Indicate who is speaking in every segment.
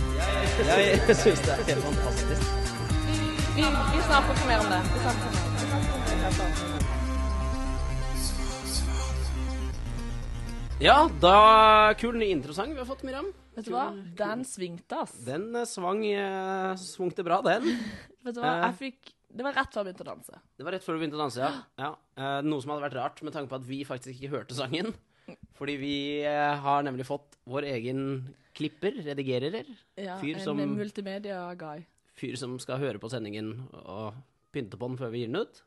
Speaker 1: Ja, jeg syns det er helt fantastisk.
Speaker 2: Vi, vi snakker ikke mer om det. Vi snakker ikke mer om det.
Speaker 1: Ja, da Kul, ny interessant vi har fått, Miriam.
Speaker 3: Vet du hva? Den svingte, ass.
Speaker 1: Den eh, svang eh, svungte bra, den.
Speaker 3: Vet du hva?
Speaker 1: Eh.
Speaker 3: Jeg fikk Det var rett før jeg begynte å danse.
Speaker 1: Det var rett før du begynte å danse, ja. ja. Eh, noe som hadde vært rart, med tanke på at vi faktisk ikke hørte sangen. Fordi vi eh, har nemlig fått vår egen klipper, redigerer,
Speaker 3: Ja,
Speaker 1: Fyr
Speaker 3: en
Speaker 1: som-
Speaker 3: multimedia-guy.
Speaker 1: fyr som skal høre på sendingen og pynte på den før vi gir den ut.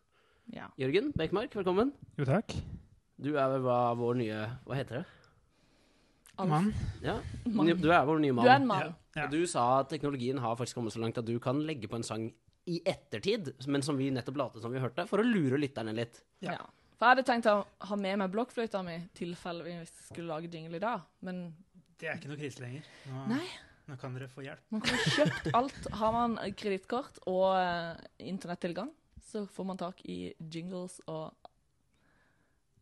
Speaker 3: Ja.
Speaker 1: Jørgen Bekmark, velkommen.
Speaker 4: Jo, takk.
Speaker 1: Du er vel hva vår nye Hva heter det?
Speaker 3: Alf.
Speaker 4: Mann.
Speaker 1: Ja,
Speaker 3: Mann.
Speaker 1: Du er vår nye
Speaker 3: Du er en
Speaker 1: mann.
Speaker 3: mann.
Speaker 4: Ja.
Speaker 1: Og du sa at teknologien har faktisk kommet så langt at du kan legge på en sang i ettertid, men som vi nettopp latet som vi hørte, for å lure lytterne litt.
Speaker 3: Ja.
Speaker 4: Ja.
Speaker 3: For jeg hadde tenkt å ha med meg blokkfløyta mi, tilfelle vi skulle lage jingle i dag. Men
Speaker 4: Det er ikke noe krise lenger. Nå,
Speaker 3: Nei.
Speaker 4: nå kan dere få hjelp.
Speaker 3: man kan jo kjøpt alt. Har man kredittkort og eh, internettilgang, så får man tak i jingles og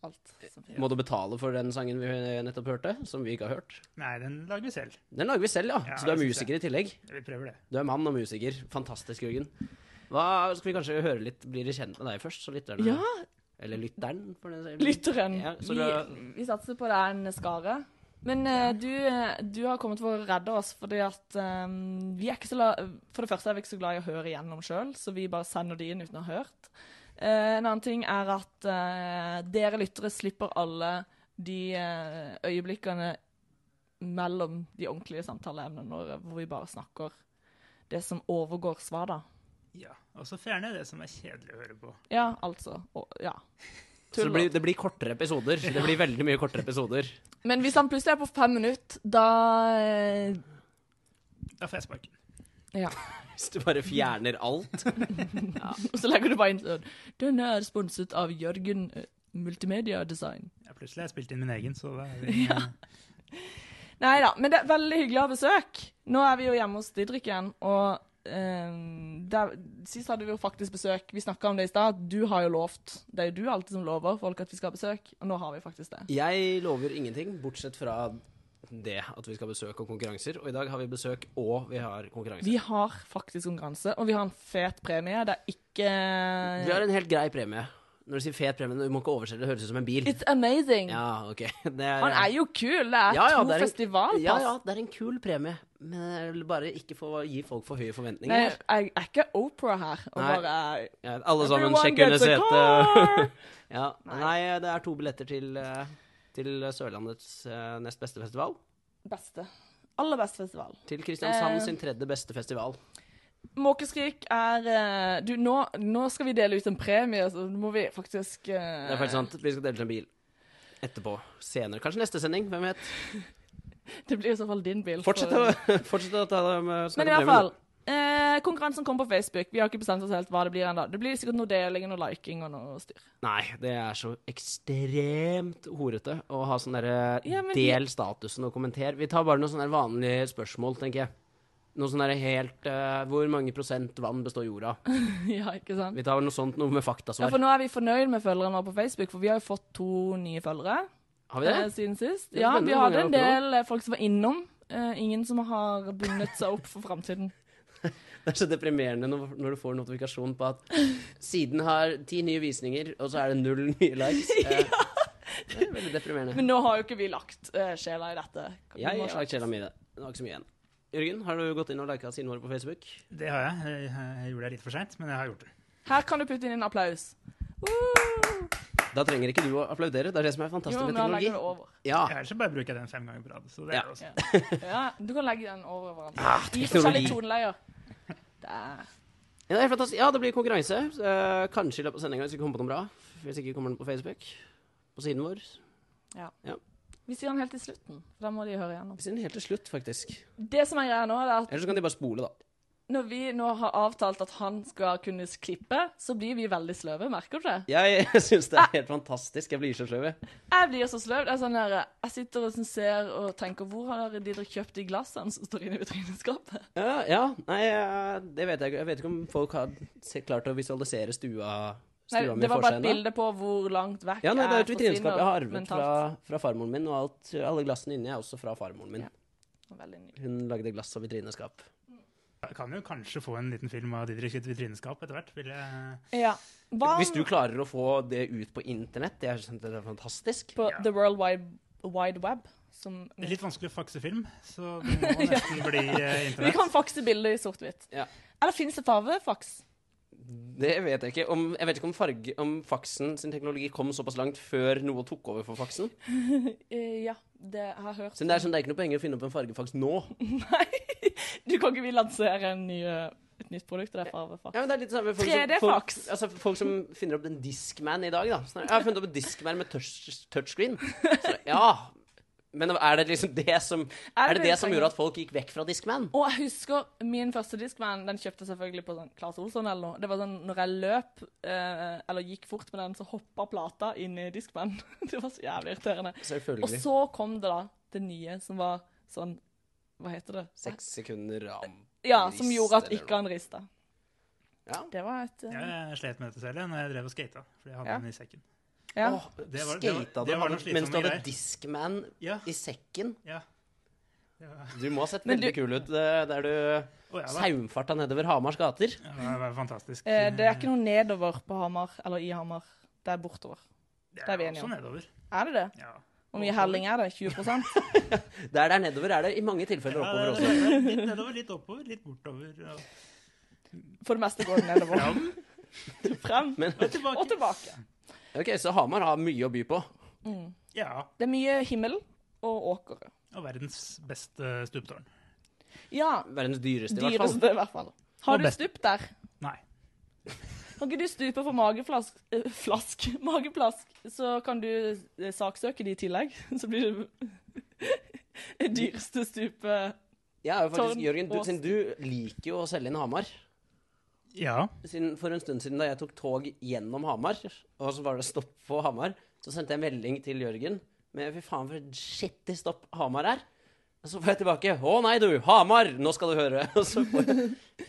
Speaker 3: alt. som finnes.
Speaker 1: Må du betale for den sangen vi nettopp hørte, som vi ikke har hørt?
Speaker 4: Nei, den lager vi selv.
Speaker 1: Den lager vi selv, ja.
Speaker 4: Ja,
Speaker 1: Så du er
Speaker 4: jeg synes det.
Speaker 1: musiker i tillegg.
Speaker 4: Vi prøver det.
Speaker 1: Du er mann og musiker. Fantastisk, Jørgen. Hva skal vi kanskje høre litt, blir de kjent med deg først, så lytterne
Speaker 3: Ja,
Speaker 1: Eller lytteren, for den saks skyld.
Speaker 3: lytteren.
Speaker 1: Ja, så
Speaker 3: vi,
Speaker 1: du-
Speaker 3: vi satser på det er en skare. Men eh, du, eh, du har kommet for å redde oss, fordi at eh, vi er ikke så la For det første er vi ikke så glad i å høre igjennom sjøl, så vi bare sender de inn uten å ha hørt. Eh, en annen ting er at eh, dere lyttere slipper alle de eh, øyeblikkene mellom de ordentlige samtaleemnene våre, hvor vi bare snakker det som overgår svar, da.
Speaker 4: Ja. Og så fjerne det som er kjedelig å høre på.
Speaker 3: Ja, altså. Og, ja.
Speaker 1: Så det blir, det blir kortere episoder. Det blir veldig mye kortere episoder.
Speaker 3: Men hvis han plutselig er på fem minutter, da eh,
Speaker 4: Da får jeg sparken.
Speaker 3: Ja.
Speaker 1: Hvis du bare fjerner alt.
Speaker 3: Og så legger du bare inn sånn Den er sponset av Jørgen eh, Multimedia Design.
Speaker 4: Ja, plutselig har jeg spilt inn min egen, så da er vi ja.
Speaker 3: Nei da, men det er veldig hyggelig å ha besøk. Nå er vi jo hjemme hos Didrik igjen, og eh, der, sist hadde vi jo faktisk besøk. Vi snakka om det i stad. Du har jo lovt. Det er jo du alltid som lover folk at vi skal ha besøk, og nå har vi faktisk det.
Speaker 1: Jeg lover ingenting, bortsett fra det at vi skal ha besøk og konkurranser. Og i dag har vi besøk, og vi har konkurranser.
Speaker 3: Vi har faktisk konkurranse, og vi har en fet premie. Det er ikke
Speaker 1: Vi har en helt grei premie. Når du sier fet premie, du må ikke oversette det, høres ut som en bil.
Speaker 3: It's amazing!
Speaker 1: Ja, ok. Det
Speaker 3: Han er jo kul! Det er
Speaker 1: Ja, ja,
Speaker 3: to
Speaker 1: det er en-
Speaker 3: festivalpass.
Speaker 1: Ja, ja, det er en kul premie, men jeg vil bare ikke få gi folk for høye forventninger.
Speaker 3: Nei, jeg er ikke Opera her. Og
Speaker 1: Nei.
Speaker 3: bare
Speaker 1: Ja, alle sammen,
Speaker 3: Everyone
Speaker 1: sjekk under
Speaker 3: gets a car!
Speaker 1: setet. ja.
Speaker 3: Nei.
Speaker 1: Nei, det er to billetter til, eh, til Sørlandets eh, nest beste festival.
Speaker 3: Beste. Aller beste festival.
Speaker 1: Til Kristiansand
Speaker 3: Eh.
Speaker 1: sin tredje beste festival.
Speaker 3: Måkeskrik er eh, Du, nå, nå skal vi dele ut en premie, så nå må vi faktisk eh,
Speaker 1: Det er faktisk sant. Vi skal dele til en bil. Etterpå. Senere. Kanskje neste sending. Hvem vet.
Speaker 3: Det blir i så fall din bil.
Speaker 1: Fortsett å,
Speaker 3: for-
Speaker 1: fortsett å ta dem eh, snakke
Speaker 3: Men i hvert
Speaker 1: premien.
Speaker 3: fall. Eh, konkurransen kommer på Facebook. Vi har ikke bestemt oss helt hva det blir ennå. Det blir sikkert noe deling og noe liking og noe styr.
Speaker 1: Nei, det er så ekstremt horete å ha sånn derre
Speaker 3: Ja, men vi-
Speaker 1: Del statusen og kommenter. Vi tar bare noen sånne der vanlige spørsmål, tenker jeg. Noe sånn derre helt eh, Hvor mange prosent vann består jorda?
Speaker 3: ja, ikke sant?
Speaker 1: Vi tar noe sånt, noe med
Speaker 3: Ja,
Speaker 1: faktasvar.
Speaker 3: for nå er vi fornøyd med følgerne våre på Facebook, for vi har jo fått to nye følgere.
Speaker 1: Har vi det?
Speaker 3: eh, siden sist.
Speaker 1: er
Speaker 3: Ja,
Speaker 1: spennende
Speaker 3: vi
Speaker 1: hvor
Speaker 3: hadde en
Speaker 1: mange det er
Speaker 3: del eh, folk som var innom. Eh, ingen som har bundet seg opp for framtiden.
Speaker 1: Det er så deprimerende når, når du får notifikasjon på at siden har ti nye visninger, og så er det null nye likes. Eh, Det er veldig deprimerende.
Speaker 3: Men nå har jo ikke vi lagt eh, sjela i dette. Vi
Speaker 1: Jeg
Speaker 3: må
Speaker 1: har
Speaker 3: slags-
Speaker 1: lagt sjela mi i det. Det var ikke så mye igjen. Jørgen, har du gått inn og lika sidene våre på Facebook?
Speaker 4: Det har jeg. Jeg, jeg gjorde det litt for seint, men jeg har gjort det.
Speaker 3: Her kan du putte inn en applaus. Woo!
Speaker 1: Da trenger ikke du å applaudere. Det er det som er
Speaker 3: Jo,
Speaker 1: fantastisk
Speaker 3: men
Speaker 1: med
Speaker 3: da legger du det
Speaker 1: teknologi.
Speaker 3: over.
Speaker 1: Ja,
Speaker 4: Ja, Ellers så bare bruker jeg den fem ganger på rad. Så det
Speaker 1: Ja.
Speaker 4: er også.
Speaker 3: Ja, du kan legge den over hverandre.
Speaker 1: Ah,
Speaker 3: I
Speaker 1: teknologi.
Speaker 3: forskjellige toneleier. Der.
Speaker 1: ja, det er fantastisk. Ja, det blir konkurranse. Eh, kanskje i løpet av sendinga hvis vi kommer på noe bra. Hvis ikke kommer den på Facebook. På siden vår.
Speaker 3: Vi sier den helt til slutten. for Da må de høre igjennom.
Speaker 1: Vi sier den helt til slutt, faktisk.
Speaker 3: Det som er greia nå, det er at
Speaker 1: Eller så kan de bare spole, da.
Speaker 3: når vi nå har avtalt at han skal kunne klippe, så blir vi veldig sløve. Merker du det?
Speaker 1: Jeg syns det er helt fantastisk. Jeg blir så sløv, jeg.
Speaker 3: Jeg blir så sløv. Det er sånn der, jeg sitter og sånn ser og tenker Hvor har Didrik kjøpt de glassene som står inne i vitrineskapet?
Speaker 1: Ja, ja. Nei, eh, det vet jeg ikke. Jeg vet ikke om folk har se- klart å visualisere stua,
Speaker 3: Nei,
Speaker 1: stua mi
Speaker 3: det var
Speaker 1: for
Speaker 3: bare
Speaker 1: seg
Speaker 3: et
Speaker 1: ennå.
Speaker 3: bilde på hvor langt vekk
Speaker 1: Ja, nei, det er et
Speaker 3: jeg
Speaker 1: vitrineskap jeg har arvet
Speaker 3: mentalt.
Speaker 1: fra, fra farmoren min, og alt, alle glassene inni er også fra farmoren min.
Speaker 3: Veldig nydelig.
Speaker 1: Hun lagde glass og vitrineskap.
Speaker 4: Ka- Kan jo kanskje få en liten film av Didrik sitt vitrineskap etter hvert. Vil jeg...
Speaker 3: Ja. Hva
Speaker 1: Hvis du klarer å få det ut på internett, det er, det er fantastisk.
Speaker 3: på
Speaker 4: Ja.
Speaker 3: The World Wide, Wide Web? Som
Speaker 4: Det er litt vanskelig å fakse film, så det må nesten bli eh,
Speaker 3: Vi kan
Speaker 4: internett.
Speaker 3: fakse bilder i sort-hvitt.
Speaker 1: Ja.
Speaker 3: Eller fins det fargefaks?
Speaker 1: Det vet jeg ikke. Om, jeg vet ikke om, farge, om faksen sin teknologi kom såpass langt før noe tok over for faksen.
Speaker 3: Eh, ja, det jeg har jeg hørt.
Speaker 1: Så det er, sånn, det er ikke noe poeng i å finne opp en fargefaks nå.
Speaker 3: Du kan ikke vi lansere en ny, eh, et nytt produkt, og det er fargefaks.
Speaker 1: Ja, men det er litt sånn med folk, som, folk,
Speaker 3: 3D-faks.
Speaker 1: altså, folk som finner opp en Discman i dag, da. Sånn, jeg har funnet opp en Discman med touch, touchscreen. Så, ja, men er det liksom det som Er det det som gjorde at folk gikk vekk fra Discman?
Speaker 3: Og jeg husker min første Discman, den kjøpte jeg selvfølgelig på sånn Claes Olsson eller noe. Det var sånn, når jeg løp, eh, eller gikk fort med den, så hoppa plata inn i Discman. Det var så jævlig irriterende. Og
Speaker 1: Selvfølgelig.
Speaker 3: så kom det da det nye, som var sånn Hva heter det?
Speaker 1: Seks sekunder ram.
Speaker 3: Ja, som gjorde at
Speaker 1: Rist, eller
Speaker 3: ikke han rista.
Speaker 1: Ja.
Speaker 3: Det var et eh,
Speaker 4: Jeg slet med dette selv jeg, når jeg drev og skata, fordi jeg hadde
Speaker 3: Ja.
Speaker 4: den i sekken.
Speaker 3: ja.
Speaker 1: Åh,
Speaker 4: Det var- det var-
Speaker 1: skata du
Speaker 4: det var noen
Speaker 1: hadde- mens du
Speaker 4: slitsomme
Speaker 1: hadde
Speaker 4: greier.
Speaker 1: Discman
Speaker 4: Ja,
Speaker 1: i sekken?
Speaker 4: ja. Det var-
Speaker 1: Du må ha sett
Speaker 3: Men
Speaker 1: veldig
Speaker 3: du-
Speaker 1: kul ut eh, der du
Speaker 4: Å, ja, da.
Speaker 1: saumfarta nedover Hamars gater.
Speaker 4: Ja, det var fantastisk.
Speaker 3: Eh, Det er ikke noe nedover på Hamar, eller i Hamar. Det er bortover. det er vi enige om.
Speaker 4: Også nedover.
Speaker 3: Er det det?
Speaker 4: Ja.
Speaker 3: Hvor mye helling er det? 20
Speaker 1: Der der nedover er det i mange tilfeller oppover
Speaker 4: Ja,
Speaker 1: også.
Speaker 4: det er- Litt nedover, litt oppover, litt bortover. Og,
Speaker 3: For det meste går det nedover.
Speaker 4: Fram.
Speaker 3: Frem
Speaker 1: Men
Speaker 4: og
Speaker 3: og
Speaker 4: tilbake.
Speaker 3: tilbake.
Speaker 1: ok, så Hamar har mye å by på.
Speaker 4: Ja.
Speaker 3: Det er mye himmel og åkere.
Speaker 4: Og verdens beste stuptårn.
Speaker 3: Ja,
Speaker 1: Verdens dyreste, i hvert fall.
Speaker 3: dyreste i hvert fall. Har
Speaker 4: Og
Speaker 3: du
Speaker 4: best.
Speaker 3: stup der?
Speaker 4: Nei.
Speaker 3: Kan ikke du stupe for mageflask, eh, flask, mageplask, så kan du eh, saksøke de i tillegg? Så blir det dyreste stupet
Speaker 1: Jeg er jo faktisk,
Speaker 3: Tårn
Speaker 1: Jørgen, du,
Speaker 3: og
Speaker 1: siden du liker jo å selge inn Hamar.
Speaker 4: Ja.
Speaker 1: Siden, for en stund siden da jeg tok tog gjennom Hamar, og så var det stopp på Hamar, så sendte jeg en melding til Jørgen med fy faen for et skittig stopp Hamar er. Og så får jeg tilbake Å nei, du, Hamar! Nå skal du høre. Og så får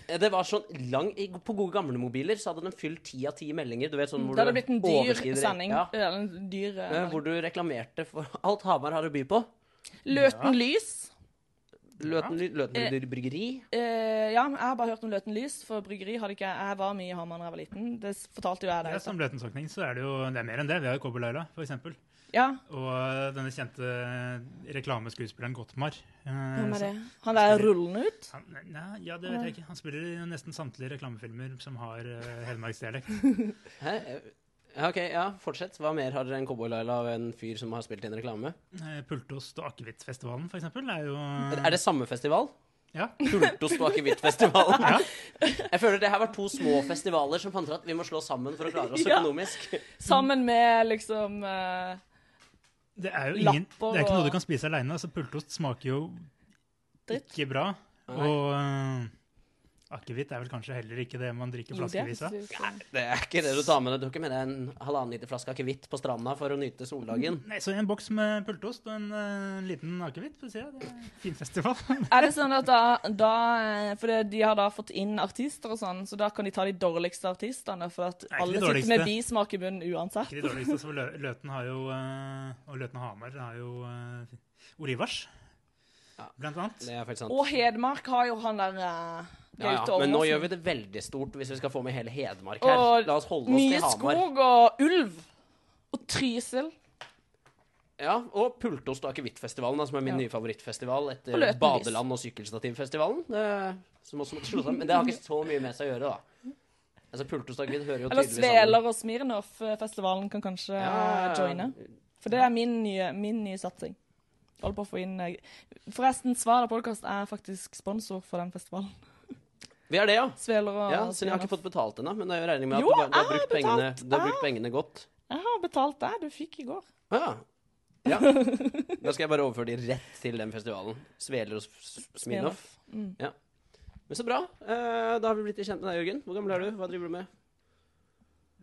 Speaker 1: jeg, det var sånn lang i- På gode gamle mobiler så hadde den fylt ti av ti meldinger. Du vet sånn hvor
Speaker 3: Det Mm, hadde
Speaker 1: du
Speaker 3: blitt en dyr
Speaker 1: overskrider-
Speaker 3: sending.
Speaker 1: Ja,
Speaker 3: Eller en dyr eh,
Speaker 1: eh, hvor du reklamerte for alt Hamar har å by på.
Speaker 3: Løten lys.
Speaker 1: Løten, Løten bryggeri.
Speaker 3: Eh, ja, jeg har bare hørt om Løten lys, for bryggeri hadde ikke jeg var mye i Hamar da jeg var liten. Det s- fortalte jo jeg
Speaker 4: ja
Speaker 3: deg.
Speaker 4: som løtensokning så er det jo det er mer enn det. Vi har jo Kobberlaila, for eksempel.
Speaker 3: Ja,
Speaker 4: Og denne kjente reklameskuespilleren Gottmar. eh,
Speaker 3: hvem er det? Han der rullende ut?
Speaker 4: Han, nei, ja, det vet jeg ikke. Han spiller i nesten samtlige reklamefilmer som har uh, hedmarksdialekt.
Speaker 1: Hæ? Ja, ok, ja, fortsett. Hva mer har dere enn Cowboy-Laila og en fyr som har spilt i en reklame?
Speaker 4: Eh, Pultost og Akevittfestivalen, for eksempel, er jo
Speaker 1: Er det samme festival?
Speaker 4: Ja.
Speaker 1: Pultost og akevittfestivalen. Jeg føler det her var to små festivaler som fant ut at vi må slå sammen for å klare oss
Speaker 3: Ja.
Speaker 1: økonomisk.
Speaker 3: Sammen med liksom eh,
Speaker 4: Det er jo ingen,
Speaker 3: Lapper
Speaker 4: det er ikke
Speaker 3: og-
Speaker 4: noe du kan spise aleine. Altså, pultost smaker jo
Speaker 3: Dritt.
Speaker 4: ikke bra.
Speaker 1: Nei.
Speaker 4: Og eh, akevitt er vel kanskje heller ikke det man drikker
Speaker 3: Jo, det er
Speaker 4: flaskevis av.
Speaker 3: faktisk litt-
Speaker 1: Det er ikke det du tar med deg. Du har ikke med deg en halvannen liter flaske akevitt på stranda for å nyte soldagen.
Speaker 4: Nei, så en boks med pultost og en eh, liten akevitt, for å si det. Det er en fin festival.
Speaker 3: Er det sånn at da, da eh, For det, de har da fått inn artister og sånn, så da kan de ta de dårligste artistene, for at
Speaker 4: ikke
Speaker 3: alle
Speaker 4: de
Speaker 3: sitter med
Speaker 4: dårligste.
Speaker 3: bismak i munnen uansett.
Speaker 4: ikke de dårligste, så Lø- Løten har jo eh, Og Løten og Hamar har jo eh, Olivars,
Speaker 1: Ja.
Speaker 4: blant annet.
Speaker 1: Det er faktisk sant.
Speaker 3: Og Hedmark har jo han der uh,
Speaker 1: Ja, ja. Men nå gjør vi det veldig stort hvis vi skal få med hele Hedmark her.
Speaker 3: Og
Speaker 1: La oss holde oss
Speaker 3: Mye
Speaker 1: til Hamar.
Speaker 3: skog og ulv. Og Trysil.
Speaker 1: Ja, Og Pultost og akevittfestivalen, da, som er min
Speaker 3: Ja.
Speaker 1: nye favorittfestival
Speaker 3: Og
Speaker 1: etter
Speaker 3: Løten Lys.
Speaker 1: Badeland og sykkelstativfestivalen. eh, Som også måtte slå sammen. Men det har ikke så mye med seg å gjøre, da. Altså, Pultost og akevitt hører jo
Speaker 3: Eller
Speaker 1: tydeligvis sammen.
Speaker 3: Sveler og Smirnov-festivalen kan kanskje eh,
Speaker 1: Ja.
Speaker 3: joine. For det er min nye, min nye satsing. Holder på å få inn eh, Forresten, Svada podkast er faktisk sponsor for den festivalen.
Speaker 1: Vi er det, ja.
Speaker 3: Sveler og
Speaker 1: Ja, siden jeg har
Speaker 3: Smirnoff.
Speaker 1: ikke fått betalt ennå, men jeg regner med at
Speaker 3: Jo,
Speaker 1: du, bare, du, har
Speaker 3: jeg
Speaker 1: brukt
Speaker 3: har
Speaker 1: pengene,
Speaker 3: betalt.
Speaker 1: du har brukt pengene godt.
Speaker 3: Jeg har betalt deg. Du fikk i går.
Speaker 1: Å Ja. ja. Da skal jeg bare overføre de rett til den festivalen. Sveler og S- Smirnoff.
Speaker 3: Mm.
Speaker 1: Men så bra. Eh, Da har vi blitt kjent med deg, Jørgen. Hvor gammel er du? Hva driver du med?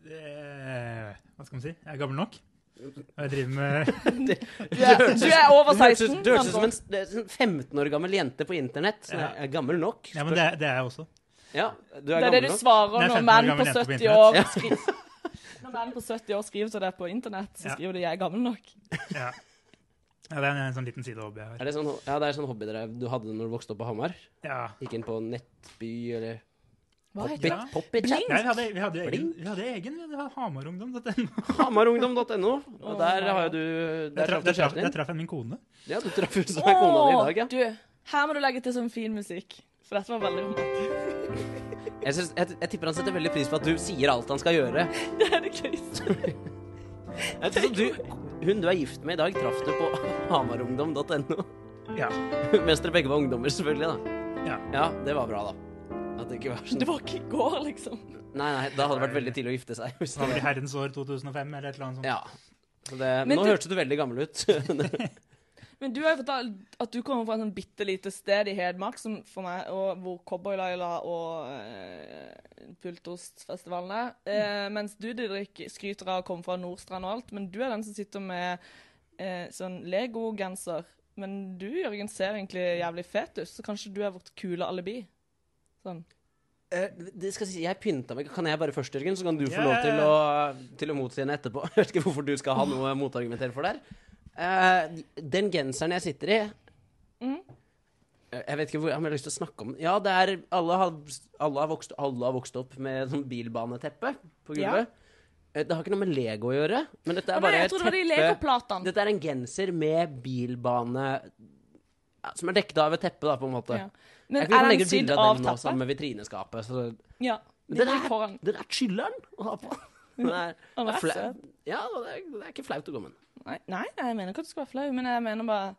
Speaker 4: Det- Hva skal man si? Jeg er gammel nok. Og jeg driver med
Speaker 3: Du, er, du er over
Speaker 1: Det høres
Speaker 3: 16.
Speaker 1: ut det høres ut som
Speaker 3: Sandra.
Speaker 1: en det er en 15 år gammel jente på internett. Så
Speaker 4: Ja.
Speaker 1: jeg er gammel nok.
Speaker 4: Ja, men det er, det er jeg også.
Speaker 1: Ja, du er
Speaker 3: det er det
Speaker 1: gammel nok.
Speaker 3: du
Speaker 4: Det er
Speaker 3: svarer når
Speaker 4: 15 år
Speaker 3: menn på
Speaker 4: gammel jente på
Speaker 3: 70 år skriver Når menn på 70 år skriver til deg på internett, så
Speaker 4: Ja.
Speaker 3: skriver de 'jeg er gammel nok'.
Speaker 4: Ja. Ja, det er en, en sånn liten sidehobby jeg har.
Speaker 1: Er det sånn, ja, det er sånn hobbydrev du hadde når du vokste opp på Hamar?
Speaker 4: Ja.
Speaker 1: Gikk inn på Nettby eller
Speaker 3: Hva
Speaker 1: Poppit?
Speaker 3: heter det?
Speaker 4: det?
Speaker 1: Poppit
Speaker 4: Nei, vi hadde, vi hadde egen,
Speaker 1: Blink.
Speaker 4: vi hadde egen vi hadde Hamarungdom. dette.
Speaker 1: Hamarungdom.no. Og
Speaker 3: Å,
Speaker 1: der har jo
Speaker 3: herregud.
Speaker 1: du
Speaker 4: Der
Speaker 1: Der traff
Speaker 4: traff
Speaker 1: du
Speaker 4: der traff-
Speaker 1: kjæresten
Speaker 4: der
Speaker 1: din.
Speaker 4: traff jeg min kone.
Speaker 1: Ja, du traff hun som er kona di i dag, ja.
Speaker 3: Åh, Du, her må du legge til sånn fin musikk. For dette var veldig romantisk.
Speaker 1: Jeg, synes, jeg, jeg tipper han setter veldig pris på at du sier alt han skal gjøre.
Speaker 3: Det er det gøyeste.
Speaker 1: Jeg tror du, hun du er gift med i dag, traff du på hamarungdom.no.
Speaker 4: Ja.
Speaker 1: Mens dere begge var ungdommer, selvfølgelig. da.
Speaker 4: Ja.
Speaker 1: det var bra, da. At det ikke var sånn
Speaker 3: Det var ikke i går, liksom.
Speaker 1: Nei, nei, da hadde det vært veldig tidlig å gifte seg. Hvis
Speaker 4: Så det var i
Speaker 1: det...
Speaker 4: herrens år 2005 eller et eller annet sånt.
Speaker 1: Ja. Så det...
Speaker 3: Men
Speaker 1: Nå
Speaker 3: du-
Speaker 1: hørtes du veldig gammel ut.
Speaker 3: Men du har jo fortalt at du kommer fra et sånn bitte lite sted i Hedmark som for meg, og hvor Cowboylaila og eh, Pultostfestivalen er. Eh, mens du Didrik, skryter av å komme fra Nordstrand og alt, men du er den som sitter med eh, sånn Lego-genser. Men du, Jørgen, ser egentlig jævlig fet ut, så kanskje du er vårt kule alibi. Sånn.
Speaker 1: Eh, det skal si, jeg pynta meg. Kan jeg bare først, Jørgen? Så kan du få
Speaker 4: Ja,
Speaker 1: lov
Speaker 4: ja,
Speaker 1: til å,
Speaker 4: ja.
Speaker 1: til å motsi henne etterpå. Jeg vet ikke hvorfor du skal ha noe å motargumentere for der. Eh, den genseren jeg sitter i
Speaker 3: Mhm.
Speaker 1: Eh, Jeg vet ikke hvor, om jeg har lyst til å snakke om den. Ja, det er Alle har, alle har, vokst, alle har vokst opp med sånn bilbaneteppe på
Speaker 3: Ja.
Speaker 1: gulvet. Eh, Det har ikke noe med Lego å gjøre, men dette
Speaker 3: Å
Speaker 1: er
Speaker 3: Nei,
Speaker 1: bare
Speaker 3: jeg
Speaker 1: et
Speaker 3: trodde det var de
Speaker 1: teppe-
Speaker 3: Lego-platene.
Speaker 1: Dette er en genser med bilbane ja, Som er dekket av et teppe, da, på en måte.
Speaker 3: Ja.
Speaker 1: Jeg
Speaker 3: Men
Speaker 1: kan
Speaker 3: er
Speaker 1: legge ut
Speaker 3: den sydd
Speaker 1: bilde av den
Speaker 3: av
Speaker 1: nå, sammen
Speaker 3: teppet?
Speaker 1: med vitrineskapet. Så
Speaker 3: Ja.
Speaker 1: Men den
Speaker 3: Den
Speaker 1: er-
Speaker 3: er foran.
Speaker 1: den er chiller'n å ha på. Den er,
Speaker 3: Den
Speaker 1: det
Speaker 3: er
Speaker 1: er flau.
Speaker 3: søt.
Speaker 1: Ja, det er, det er ikke flaut å gå med den.
Speaker 3: Nei, nei, nei, jeg mener ikke at du skal være flau, men jeg mener bare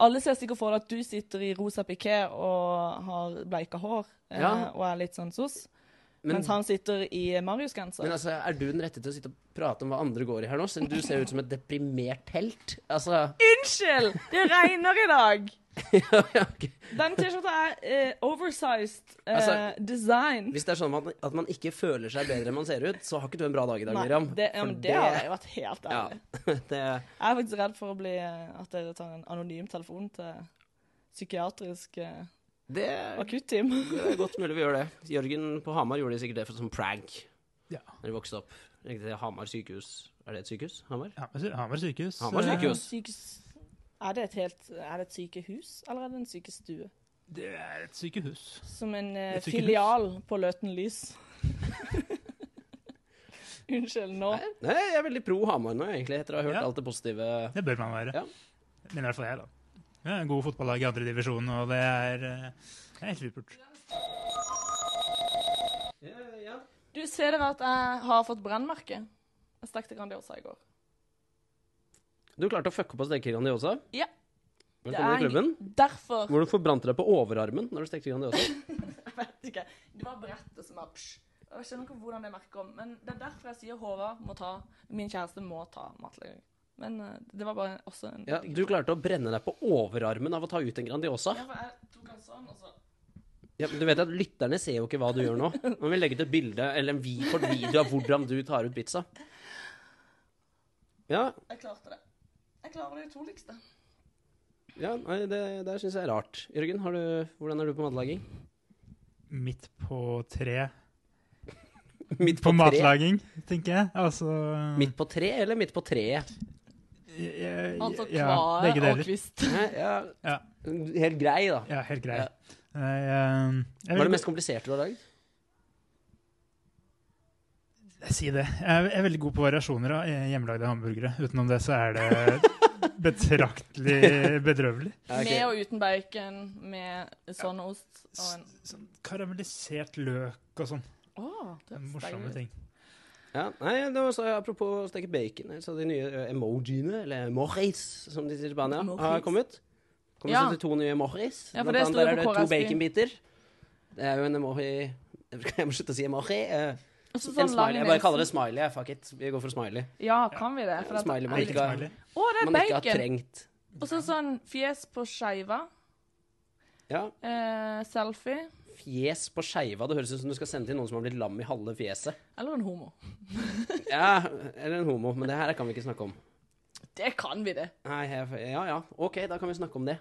Speaker 3: Alle ser sikkert for deg at du sitter i rosa piké og har bleika hår eh,
Speaker 1: Ja.
Speaker 3: og er litt sånn sos,
Speaker 1: Men,
Speaker 3: mens han sitter i Marius-genser.
Speaker 1: men altså, er du den rette til å sitte og prate om hva andre går i her nå? Siden du ser ut som et deprimert helt. Altså
Speaker 3: Unnskyld! Det regner i dag!
Speaker 1: ja, ja, ok.
Speaker 3: Den T-skjorta er eh, oversized eh,
Speaker 1: Altså,
Speaker 3: design.
Speaker 1: Hvis det er sånn at man, at man ikke føler seg bedre enn man ser ut, så har ikke du en bra dag i dag,
Speaker 3: Nei,
Speaker 1: Miriam.
Speaker 3: det, ja,
Speaker 1: For
Speaker 3: men det har jeg vært helt
Speaker 1: ja,
Speaker 3: ærlig.
Speaker 1: det,
Speaker 3: Jeg er faktisk redd for å bli eh, at dere tar en anonym telefon til psykiatrisk eh,
Speaker 1: det,
Speaker 3: akutteam.
Speaker 1: det er godt mulig vi gjør det. Jørgen på Hamar gjorde sikkert det for som prank
Speaker 4: Ja.
Speaker 1: da de vokste opp. Gikk til Hamar sykehus. Er det et sykehus? Hamar?
Speaker 4: Hamar sy- Hamar sykehus.
Speaker 1: Hamar
Speaker 4: eh,
Speaker 1: sykehus.
Speaker 3: Sykehus. Er det et helt Er det et sykehus, eller er det en sykestue?
Speaker 4: Eh, Det er et sykehus.
Speaker 3: Som en eh,
Speaker 4: Et sykehus.
Speaker 3: filial på Løten Lys. Unnskyld, nå
Speaker 1: Nei, nei, jeg er veldig pro Hamar nå, egentlig, etter å ha hørt
Speaker 4: Ja.
Speaker 1: alt det positive.
Speaker 4: Det bør man være.
Speaker 1: Ja.
Speaker 4: Men i hvert fall jeg, da. Vi har en god fotballag i andredivisjon, og det er, eh, det er helt supert.
Speaker 3: Du, ser dere at jeg har fått brennmerke? Jeg stekte Grandiosa i går.
Speaker 1: Du klarte å fucke opp og steke Grandiosa.
Speaker 3: Ja.
Speaker 1: Velkommen i
Speaker 3: Det er
Speaker 1: klubben.
Speaker 3: Derfor
Speaker 1: Hvor du forbrant deg på overarmen når du stekte Grandiosa.
Speaker 3: Jeg vet ikke. Det var brettet som var psj. Og Jeg skjønner ikke hvordan det merker om, men det er derfor jeg sier Håvard må ta Min kjæreste må ta matlaging. Men eh, det var bare også en
Speaker 1: Ja, du klarte å brenne deg på overarmen av å ta ut en Grandiosa.
Speaker 3: Ja, for jeg tok han sånn, og så
Speaker 1: Ja, men du vet at Lytterne ser jo ikke hva du gjør nå. Men vi legger ut et bilde eller en vi- kort video av hvordan du tar ut pizza. Ja,
Speaker 3: Jeg klarte det. Jeg klarer det utroligste.
Speaker 1: ja nei, det, det syns jeg er rart. Jørgen, har du, hvordan er du på matlaging?
Speaker 4: Midt på tre.
Speaker 1: Midt
Speaker 4: På
Speaker 1: tre?
Speaker 4: matlaging, tenker jeg. Altså
Speaker 1: Midt på tre eller midt på treet?
Speaker 4: eh,
Speaker 3: Altså
Speaker 4: ja,
Speaker 3: kvae
Speaker 4: begge deler.
Speaker 3: og kvist.
Speaker 1: Hæ? Ja,
Speaker 4: Ja.
Speaker 1: Helt grei, da.
Speaker 4: Ja, helt grei.
Speaker 1: Ja.
Speaker 4: Nei, eh,
Speaker 1: Hva er
Speaker 4: jeg vil-
Speaker 1: det mest kompliserte du har lagd?
Speaker 4: Si det. Jeg er veldig god på variasjoner av eh, hjemmelagde hamburgere. Utenom det så er det betraktelig bedrøvelig.
Speaker 1: Ja, ok.
Speaker 3: Med og uten bacon, med sånn ost og en
Speaker 4: S- Sånn karamellisert løk og sånn.
Speaker 3: Åh, det høres deilig
Speaker 4: Morsomme
Speaker 3: ut.
Speaker 4: ting.
Speaker 1: Ja, nei, det var så, Apropos å steke bacon, så de nye eh, emojiene, eller emojis, som de sier i Spania,
Speaker 3: Emojis.
Speaker 1: har kommet. Kommer
Speaker 3: Ja.
Speaker 1: ja. 72 nye emojis.
Speaker 3: Ja, for
Speaker 1: Blant
Speaker 3: det
Speaker 1: annet
Speaker 3: sto jo
Speaker 1: der
Speaker 3: på
Speaker 1: er det to
Speaker 3: KSB.
Speaker 1: baconbiter. Det er jo en emoji Jeg må slutte å si emoji. eh,
Speaker 3: Og så
Speaker 1: en
Speaker 3: sånn lang
Speaker 1: smiley. Jeg bare kaller det
Speaker 3: nese.
Speaker 1: smiley. jeg. Fuck it. Vi går for smiley.
Speaker 3: Ja, kan vi det? For at,
Speaker 1: Smiley man
Speaker 4: Ikke
Speaker 1: ikke har,
Speaker 4: smiley.
Speaker 3: å, det er
Speaker 1: man ikke har
Speaker 3: bacon!
Speaker 1: trengt.
Speaker 3: Og så sånn fjes på skeiva.
Speaker 1: Ja,
Speaker 3: Eh, selfie.
Speaker 1: Fjes på skeiva. Det høres ut som du skal sende til noen som har blitt lam i halve fjeset.
Speaker 3: Eller en homo.
Speaker 1: Ja, Eller en homo. Men det her kan vi ikke snakke om.
Speaker 3: Det kan vi, det.
Speaker 1: Nei, jeg, ja ja. OK, da kan vi snakke om det.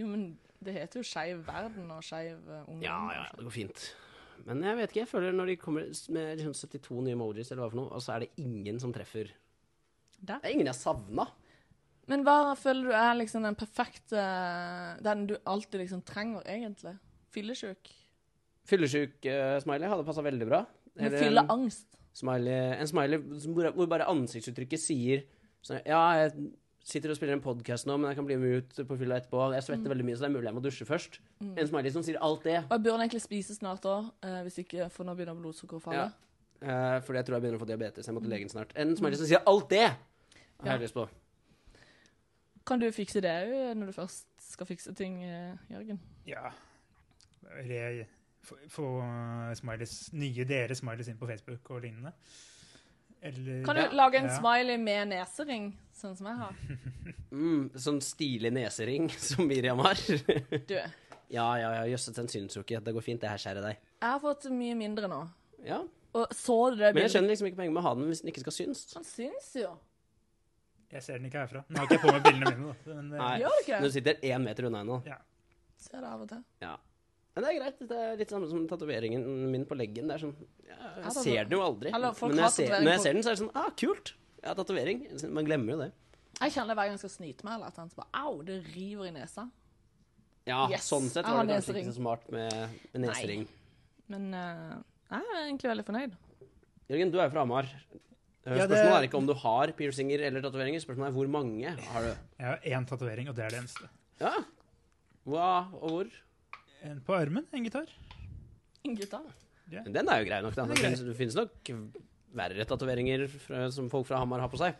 Speaker 3: Jo, men det heter jo Skeiv verden og Skeiv eh, ungdom.
Speaker 1: Ja, ja, ja, det går fint. Men jeg vet ikke, jeg føler når de kommer s- med liksom 72 nye emojis, eller hva for noe, og så er det ingen som treffer.
Speaker 3: Der.
Speaker 1: Det er ingen jeg savna.
Speaker 3: Men hva føler du er liksom den perfekte eh, Den du alltid liksom trenger, egentlig? Fyllesjuk?
Speaker 1: Fyllesyk-smiley eh, hadde passa veldig bra.
Speaker 3: Med
Speaker 1: Eller en
Speaker 3: fylleangst?
Speaker 1: smiley, en smiley som- hvor, hvor bare ansiktsuttrykket sier sånn, Ja, jeg sitter og spiller en podkast nå, men jeg kan bli med ut på fylla etterpå. Jeg svetter veldig mye, så det er mulig jeg må dusje først.
Speaker 3: Mm.
Speaker 1: En smiley som sier alt det.
Speaker 3: Og jeg burde egentlig spise snart òg, eh, hvis ikke for nå begynner blodsukkeret å falle.
Speaker 1: Ja. Eh, fordi jeg tror jeg begynner å få diabetes. Jeg må til legen snart. En smiley som sier alt det! Har jeg lyst på.
Speaker 3: Kan du fikse det òg, når du først skal fikse ting, eh, Jørgen?
Speaker 4: Ja. Re, få få eh, smileys, nye dere smileys inn på Facebook og lignende. Eller,
Speaker 3: Kan du
Speaker 4: Ja.
Speaker 3: lage en
Speaker 4: Ja.
Speaker 3: smiley med nesering, sånn som jeg har?
Speaker 1: Mm, sånn stilig nesering som Miriam har.
Speaker 3: Du, jeg
Speaker 1: ja, ja, ja, jøsses, den syns jo ikke. Det går fint, det her skjæret der.
Speaker 3: har fått mye mindre nå.
Speaker 1: Ja.
Speaker 3: Og så du
Speaker 1: Men jeg
Speaker 3: det bildet?
Speaker 1: skjønner liksom ikke poenget med å ha den hvis den ikke skal synes.
Speaker 3: Han syns jo.
Speaker 4: Jeg ser den ikke herfra. Nå har ikke jeg på meg brillene mine, da. Men, eh,
Speaker 1: Nei.
Speaker 3: Gjør det
Speaker 1: Når
Speaker 3: ikke?
Speaker 1: du sitter én meter unna henne.
Speaker 3: Ser det av og til.
Speaker 1: Men det er greit. Det er litt samme som tatoveringen min på leggen. Det er sånn, ja,
Speaker 3: Ja,
Speaker 1: jeg
Speaker 3: da-
Speaker 1: ser den jo aldri.
Speaker 3: Eller folk
Speaker 1: Men når
Speaker 3: har
Speaker 1: jeg, ser,
Speaker 3: tatovering
Speaker 1: når
Speaker 3: på-
Speaker 1: jeg ser den, så er det sånn ah, kult! Jeg har tatovering. Man glemmer jo det.
Speaker 3: Jeg kjenner det hver gang jeg skal snyte meg, eller et eller annet, så bare au, det river i neseren.
Speaker 1: Ja,
Speaker 3: Yes.
Speaker 1: sånn sett
Speaker 3: Jeg
Speaker 1: var
Speaker 3: har
Speaker 1: det kanskje
Speaker 3: nesering.
Speaker 1: ikke så smart med, med nesering.
Speaker 3: Men eh, jeg er egentlig veldig fornøyd.
Speaker 1: Jørgen, du er jo fra Hamar. Eh,
Speaker 4: Ja, det-
Speaker 1: Spørsmålet er ikke om du har piercinger eller tatoveringer, spørsmålet er hvor mange har du.
Speaker 4: Jeg har én tatovering, og det er det eneste.
Speaker 1: Ja. Hva og hvor?
Speaker 4: En på armen, en gitar.
Speaker 3: En gitar.
Speaker 1: Den er jo grei nok, da. Det
Speaker 4: Det er
Speaker 1: finnes, det finnes nok verre tatoveringer fra- som folk fra Hamar har på seg.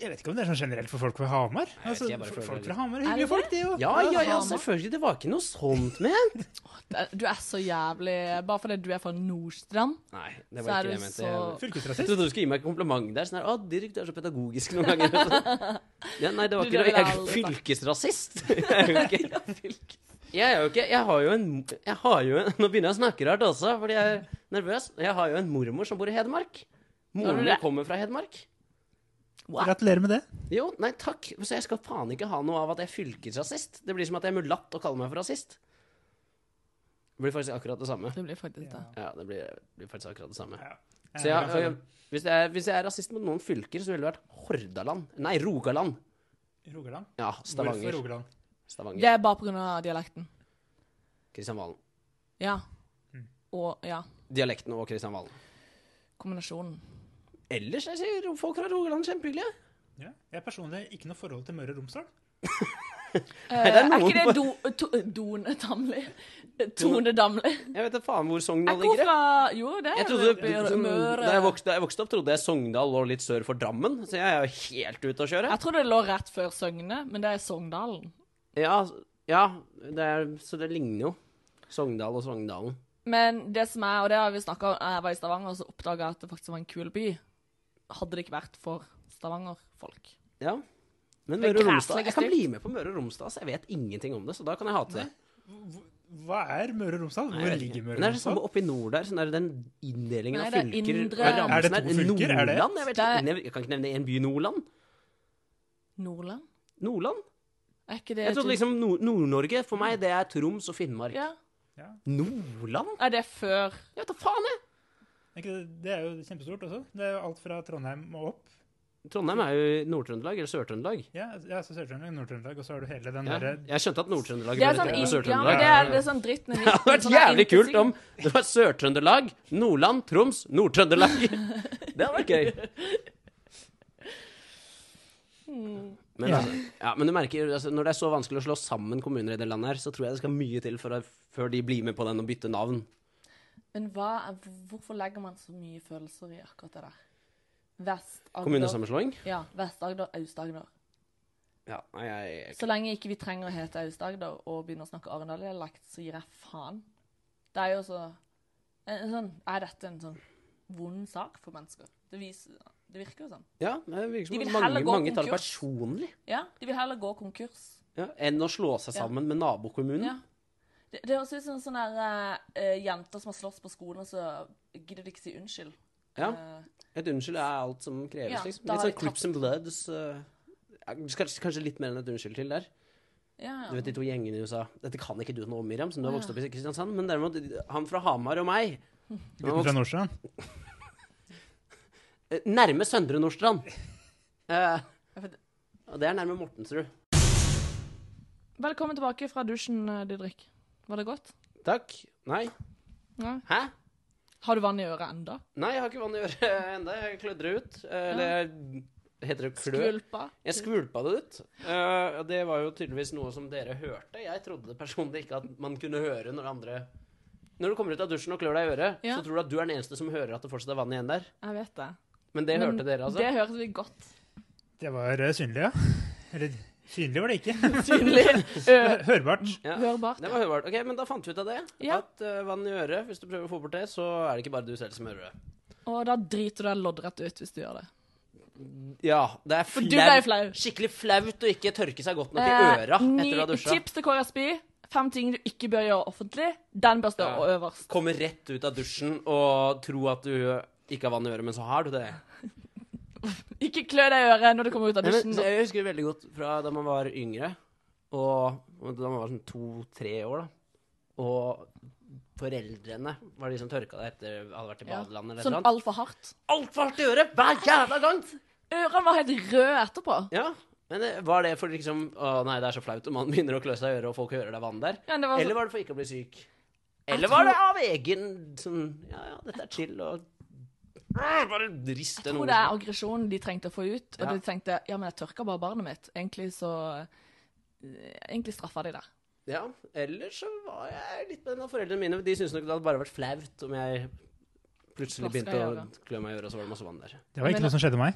Speaker 4: Jeg vet ikke om det er sånn generelt for folk fra Hamar.
Speaker 1: vet
Speaker 4: Altså,
Speaker 1: ikke, jeg bare
Speaker 4: for-
Speaker 1: føler
Speaker 4: folk
Speaker 1: det
Speaker 4: fra Hamar er
Speaker 3: Er det
Speaker 4: hyggelige folk, de jo.
Speaker 1: Ja, ja, ja,
Speaker 3: Hamar.
Speaker 1: selvfølgelig. Det var ikke noe sånt med
Speaker 3: Du er så jævlig Bare fordi du er fra Nordstrand,
Speaker 1: Nei, det
Speaker 3: Så er
Speaker 1: var ikke det jeg
Speaker 3: du
Speaker 1: mente.
Speaker 3: så-
Speaker 1: Jeg
Speaker 4: Fylkesrasist.
Speaker 1: trodde du skulle gi meg et kompliment der. Sånn her, å, Dirk, du er så pedagogisk noen ganger. Ja, nei, det var
Speaker 3: Du,
Speaker 1: ikke
Speaker 3: det
Speaker 1: noe. Jeg er
Speaker 3: vil
Speaker 1: jo
Speaker 3: jeg
Speaker 1: fylkesrasist. Jeg er jo ikke Jeg er jo ikke Jeg har jo en Jeg har jo en Nå begynner jeg å snakke rart også, fordi jeg er nervøs. Jeg har jo en mormor som bor i Hedmark.
Speaker 3: Har du
Speaker 1: Moren
Speaker 3: det?
Speaker 1: min kommer fra Hedmark.
Speaker 4: Gratulerer med det.
Speaker 1: Jo, nei takk. Så jeg skal faen ikke ha noe av at jeg er fylkesrasist. Det blir som at jeg er mulatt og kaller meg for rasist. Det blir faktisk akkurat det samme.
Speaker 3: det blir faktisk det.
Speaker 1: Ja, det blir, det blir faktisk akkurat det samme.
Speaker 4: Jeg
Speaker 1: Eh, Så
Speaker 4: er
Speaker 1: jeg,
Speaker 4: glad for
Speaker 1: jeg, hvis, jeg, hvis jeg er rasist mot noen fylker, så ville det vært Hordaland. Nei, Rogaland.
Speaker 4: det. Rogaland.
Speaker 1: Ja,
Speaker 4: Hvorfor
Speaker 1: Stavanger.
Speaker 4: Rogaland?
Speaker 1: Stavanger.
Speaker 3: Det er bare pga. dialekten.
Speaker 1: Kristian Valen.
Speaker 3: Ja.
Speaker 4: Mm.
Speaker 3: Og ja,
Speaker 1: Dialekten og Kristian Valen.
Speaker 3: kombinasjonen.
Speaker 1: Ellers jeg sier folk fra Rogaland kjempehyggelige.
Speaker 4: Ja. Jeg har personlig ikke noe forhold til Møre og Romsdal.
Speaker 3: Eh,
Speaker 1: det er
Speaker 3: er,
Speaker 1: noen-
Speaker 3: ikke det do, to, Done Damli? Tone Damli?
Speaker 1: Jeg vet da faen hvor
Speaker 3: Jeg
Speaker 1: Sogndal
Speaker 3: går
Speaker 1: ligger. jeg.
Speaker 3: fra Jo, det
Speaker 1: Jeg
Speaker 3: er
Speaker 1: trodde,
Speaker 3: oppe i
Speaker 1: som,
Speaker 3: Møre.
Speaker 1: da, jeg vokste, da jeg vokste opp, trodde jeg Sogndal lå litt sør for Drammen, så jeg er jo helt ute å kjøre.
Speaker 3: Jeg trodde det lå rett før Søgne, men det er Sogndalen.
Speaker 1: Ja, altså, ja det er, så det ligner jo. Sogndal og Sogndalen.
Speaker 3: Men det som er, og det har vi snakket om, jeg var i Stavanger, så oppdaga jeg at det faktisk var en kul by. Hadde det ikke vært for Stavanger-folk.
Speaker 1: Ja. Men
Speaker 3: Det er
Speaker 1: Møre og Romsdal
Speaker 3: græslig
Speaker 1: Jeg kan
Speaker 3: stygt.
Speaker 1: bli med på Møre og Romsdal, så jeg vet ingenting om det, så da kan jeg hate det.
Speaker 4: Hva er Møre og Romsdal?
Speaker 1: Nei,
Speaker 4: Hvor
Speaker 1: jeg vet
Speaker 4: ligger
Speaker 1: ikke.
Speaker 4: Møre
Speaker 1: Men det
Speaker 4: og
Speaker 1: er det samme
Speaker 4: Romsdal?
Speaker 1: oppe i nord der. Sånn der den inndelingen
Speaker 3: Nei,
Speaker 1: av
Speaker 3: det er
Speaker 1: fylker.
Speaker 3: indre-
Speaker 1: og rammen
Speaker 4: Er det
Speaker 1: sånn
Speaker 4: to fylker? Er det-
Speaker 1: Nordland? Jeg, vet,
Speaker 3: Det er-
Speaker 1: ikke. Nevn- jeg kan ikke nevne én by. Nordland?
Speaker 3: Nordland?
Speaker 1: Nordland?
Speaker 3: Er ikke det
Speaker 1: Jeg trodde liksom Nord- Nord-Norge For meg det er Troms og Finnmark.
Speaker 3: ja.
Speaker 1: Nordland?
Speaker 3: Er det før
Speaker 1: Jeg vet da faen, jeg!
Speaker 4: Er ikke Det det er jo kjempestort også. Det er jo alt fra Trondheim og opp.
Speaker 1: Trondheim er jo i Nord-Trøndelag eller Sør-Trøndelag.
Speaker 4: Ja, ja så Sør-Trøndelag, Nord-Trøndelag, og så har du hele den
Speaker 1: Ja.
Speaker 4: derre
Speaker 1: Jeg skjønte at Nord-Trøndelag
Speaker 3: Det
Speaker 1: ble
Speaker 3: er
Speaker 1: litt
Speaker 3: sånn,
Speaker 1: annet enn
Speaker 3: in, ja,
Speaker 1: Sør-Trøndelag.
Speaker 3: men det er, det er sånn dritten i
Speaker 1: Det hadde vært jævlig kult om det var Sør-Trøndelag, Nordland, Troms, Nord-Trøndelag. Det hadde vært gøy.
Speaker 3: Hmm.
Speaker 1: Men,
Speaker 4: Ja.
Speaker 1: altså, ja, men du merker, altså, når det er så vanskelig å slå sammen kommuner i det landet her, så tror jeg det skal mye til for å, før de blir med på den og bytter navn.
Speaker 3: Men hva, hvorfor legger man så mye følelser i akkurat det der? Vest-Agder,
Speaker 1: Kommunesammenslåing?
Speaker 3: ja, Vest-Agder, Aust-Agder.
Speaker 1: Ja, nei, jeg,
Speaker 3: Så lenge ikke vi trenger å hete Aust-Agder og begynne å snakke Arendal-dialekt, så gir jeg faen. Det er jo så en, en sånn, Er dette en sånn vond sak for mennesker? Det, viser, det virker jo sånn.
Speaker 1: ja, det virker
Speaker 3: De
Speaker 1: som
Speaker 3: vil
Speaker 1: at
Speaker 3: heller
Speaker 1: mange,
Speaker 3: gå
Speaker 1: mange tar det
Speaker 3: konkurs.
Speaker 1: personlig
Speaker 3: Ja, De vil heller gå konkurs.
Speaker 1: ja, enn å slå seg
Speaker 3: Ja.
Speaker 1: sammen med nabokommunen.
Speaker 3: Ja. Det, det høres ut som sånne der, eh, jenter som har slåss på skolen, og så gidder de ikke si unnskyld.
Speaker 1: Ja.
Speaker 3: Eh,
Speaker 1: Et unnskyld er alt som kreves,
Speaker 3: Ja,
Speaker 1: liksom.
Speaker 3: da
Speaker 1: Litt
Speaker 3: har
Speaker 1: sånn
Speaker 3: de
Speaker 1: Crips and Bloods. eh, ja, kanskje, kanskje litt mer enn et unnskyld til der.
Speaker 3: ja, ja.
Speaker 1: Du vet de to gjengene i USA Dette kan ikke du noe om, Miriam, som du har
Speaker 3: Å,
Speaker 1: vokst opp i Kristiansand. Men derimot, han fra Hamar og meg han
Speaker 4: gutten
Speaker 1: vokste-
Speaker 4: fra Nordstrand.
Speaker 1: eh, Nærme Søndre Nordstrand. Eh, Og det er nærme Mortensrud.
Speaker 3: Velkommen tilbake fra dusjen, eh, Didrik. Var det godt?
Speaker 1: Takk. Nei.
Speaker 3: Nei.
Speaker 1: Hæ?
Speaker 3: Har du vann i øret enda?
Speaker 1: Nei, jeg har ikke vann i øret enda. Jeg klødder ut. Eh, Eller jeg- heter det klø?
Speaker 3: Skvulpa?
Speaker 1: Jeg skvulpa det ut. Eh, og det var jo tydeligvis noe som dere hørte. Jeg trodde personlig ikke at man kunne høre når andre Når du kommer ut av dusjen og klør deg i øret,
Speaker 3: Ja.
Speaker 1: så tror du at du er den eneste som hører at det fortsatt er vann igjen der.
Speaker 3: Jeg vet det.
Speaker 1: Men det
Speaker 3: Men
Speaker 1: hørte dere, altså?
Speaker 3: Det hørte vi godt.
Speaker 4: Det var eh, synlig, ja. Eller synlig var det ikke.
Speaker 3: Synlig. Ø-
Speaker 4: Hørbart.
Speaker 1: Ja.
Speaker 3: Hørbart.
Speaker 1: Det var hørbart. Ok, Men da fant vi ut av det.
Speaker 3: Ja.
Speaker 1: At eh, vann i øret, hvis du prøver å få bort det, så er det ikke bare du selv som hører det.
Speaker 3: Og da driter du deg loddrett ut hvis du gjør det.
Speaker 1: Ja, det er
Speaker 3: For du ble
Speaker 1: flaut.
Speaker 3: flau.
Speaker 1: Skikkelig flaut å ikke tørke seg godt nok i
Speaker 3: Eh,
Speaker 1: øra
Speaker 3: ny-
Speaker 1: etter å ha dusja.
Speaker 3: Tips til Kåre Spy. Fem ting du ikke bør gjøre offentlig. Den bør stå
Speaker 1: Ja.
Speaker 3: øverst.
Speaker 1: Komme rett ut av dusjen og tro at du ikke har vann i øret, men så har du det.
Speaker 3: Ikke klø deg i øret når du kommer ut av
Speaker 1: Nei, men,
Speaker 3: dusjen.
Speaker 1: så jeg husker veldig godt fra da man var yngre, og og da man var sånn to-tre år, da. Og foreldrene var de som tørka deg etter hadde vært i
Speaker 3: Ja.
Speaker 1: badelandet eller
Speaker 3: Sånn
Speaker 1: noe sånt.
Speaker 3: altfor hardt.
Speaker 1: Altfor hardt i øret hver jævla gang!
Speaker 3: Ørene var helt røde etterpå.
Speaker 1: Ja, men eh, var det for liksom Å nei, det er så flaut om man begynner å klø seg i øret, og folk hører det er vann der?
Speaker 3: Ja, det var
Speaker 1: Eller
Speaker 3: så,
Speaker 1: var det for ikke å bli syk? Eller var det av egen sånn Ja, ja, dette er chill, og Ah, Bare riste
Speaker 3: jeg
Speaker 1: noe.
Speaker 3: tror det er aggresjonen de trengte å få ut. Og
Speaker 1: Ja.
Speaker 3: de tenkte ja, men jeg tørka bare barnet mitt. Egentlig så eh, Egentlig straffa de det.
Speaker 1: Ja, ellers så var jeg litt med en av foreldrene mine. De syntes nok det hadde bare vært flaut om jeg plutselig
Speaker 3: Plaska
Speaker 1: begynte
Speaker 3: i
Speaker 1: å
Speaker 3: øret.
Speaker 1: klø meg i øret, og så var det masse vann der.
Speaker 4: Det var ikke
Speaker 3: Men-
Speaker 4: noe som skjedde meg.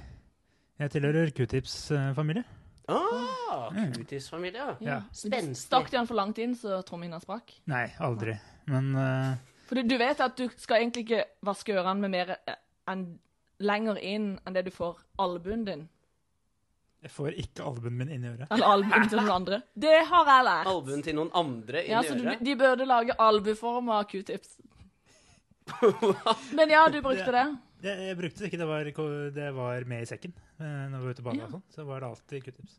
Speaker 4: Jeg tilhører eh, Q-tips-familie.
Speaker 1: Ah, Kutis-familie. ja.
Speaker 4: Ja.
Speaker 1: Spenstig.
Speaker 3: Stakk de han for langt inn, så trommehinna sprakk?
Speaker 4: Nei, aldri. Men eh,
Speaker 3: For du, du vet at du skal egentlig ikke vaske ørene med mer eh, enn lenger inn enn det du får albuen din.
Speaker 4: jeg får ikke albuen min inn i øret.
Speaker 3: Eller albuen til noen andre. Det har jeg lært.
Speaker 1: Albuen til noen andre inn
Speaker 3: Ja,
Speaker 1: i
Speaker 3: så du,
Speaker 1: øret.
Speaker 3: De burde lage albueform av q-tips. Men ja, du brukte det.
Speaker 4: Jeg, jeg brukte det ikke, det var, ko- det var med i sekken. eh, Når vi var ute på banen
Speaker 3: Ja.
Speaker 4: og sånn, så var det alltid Q-tips.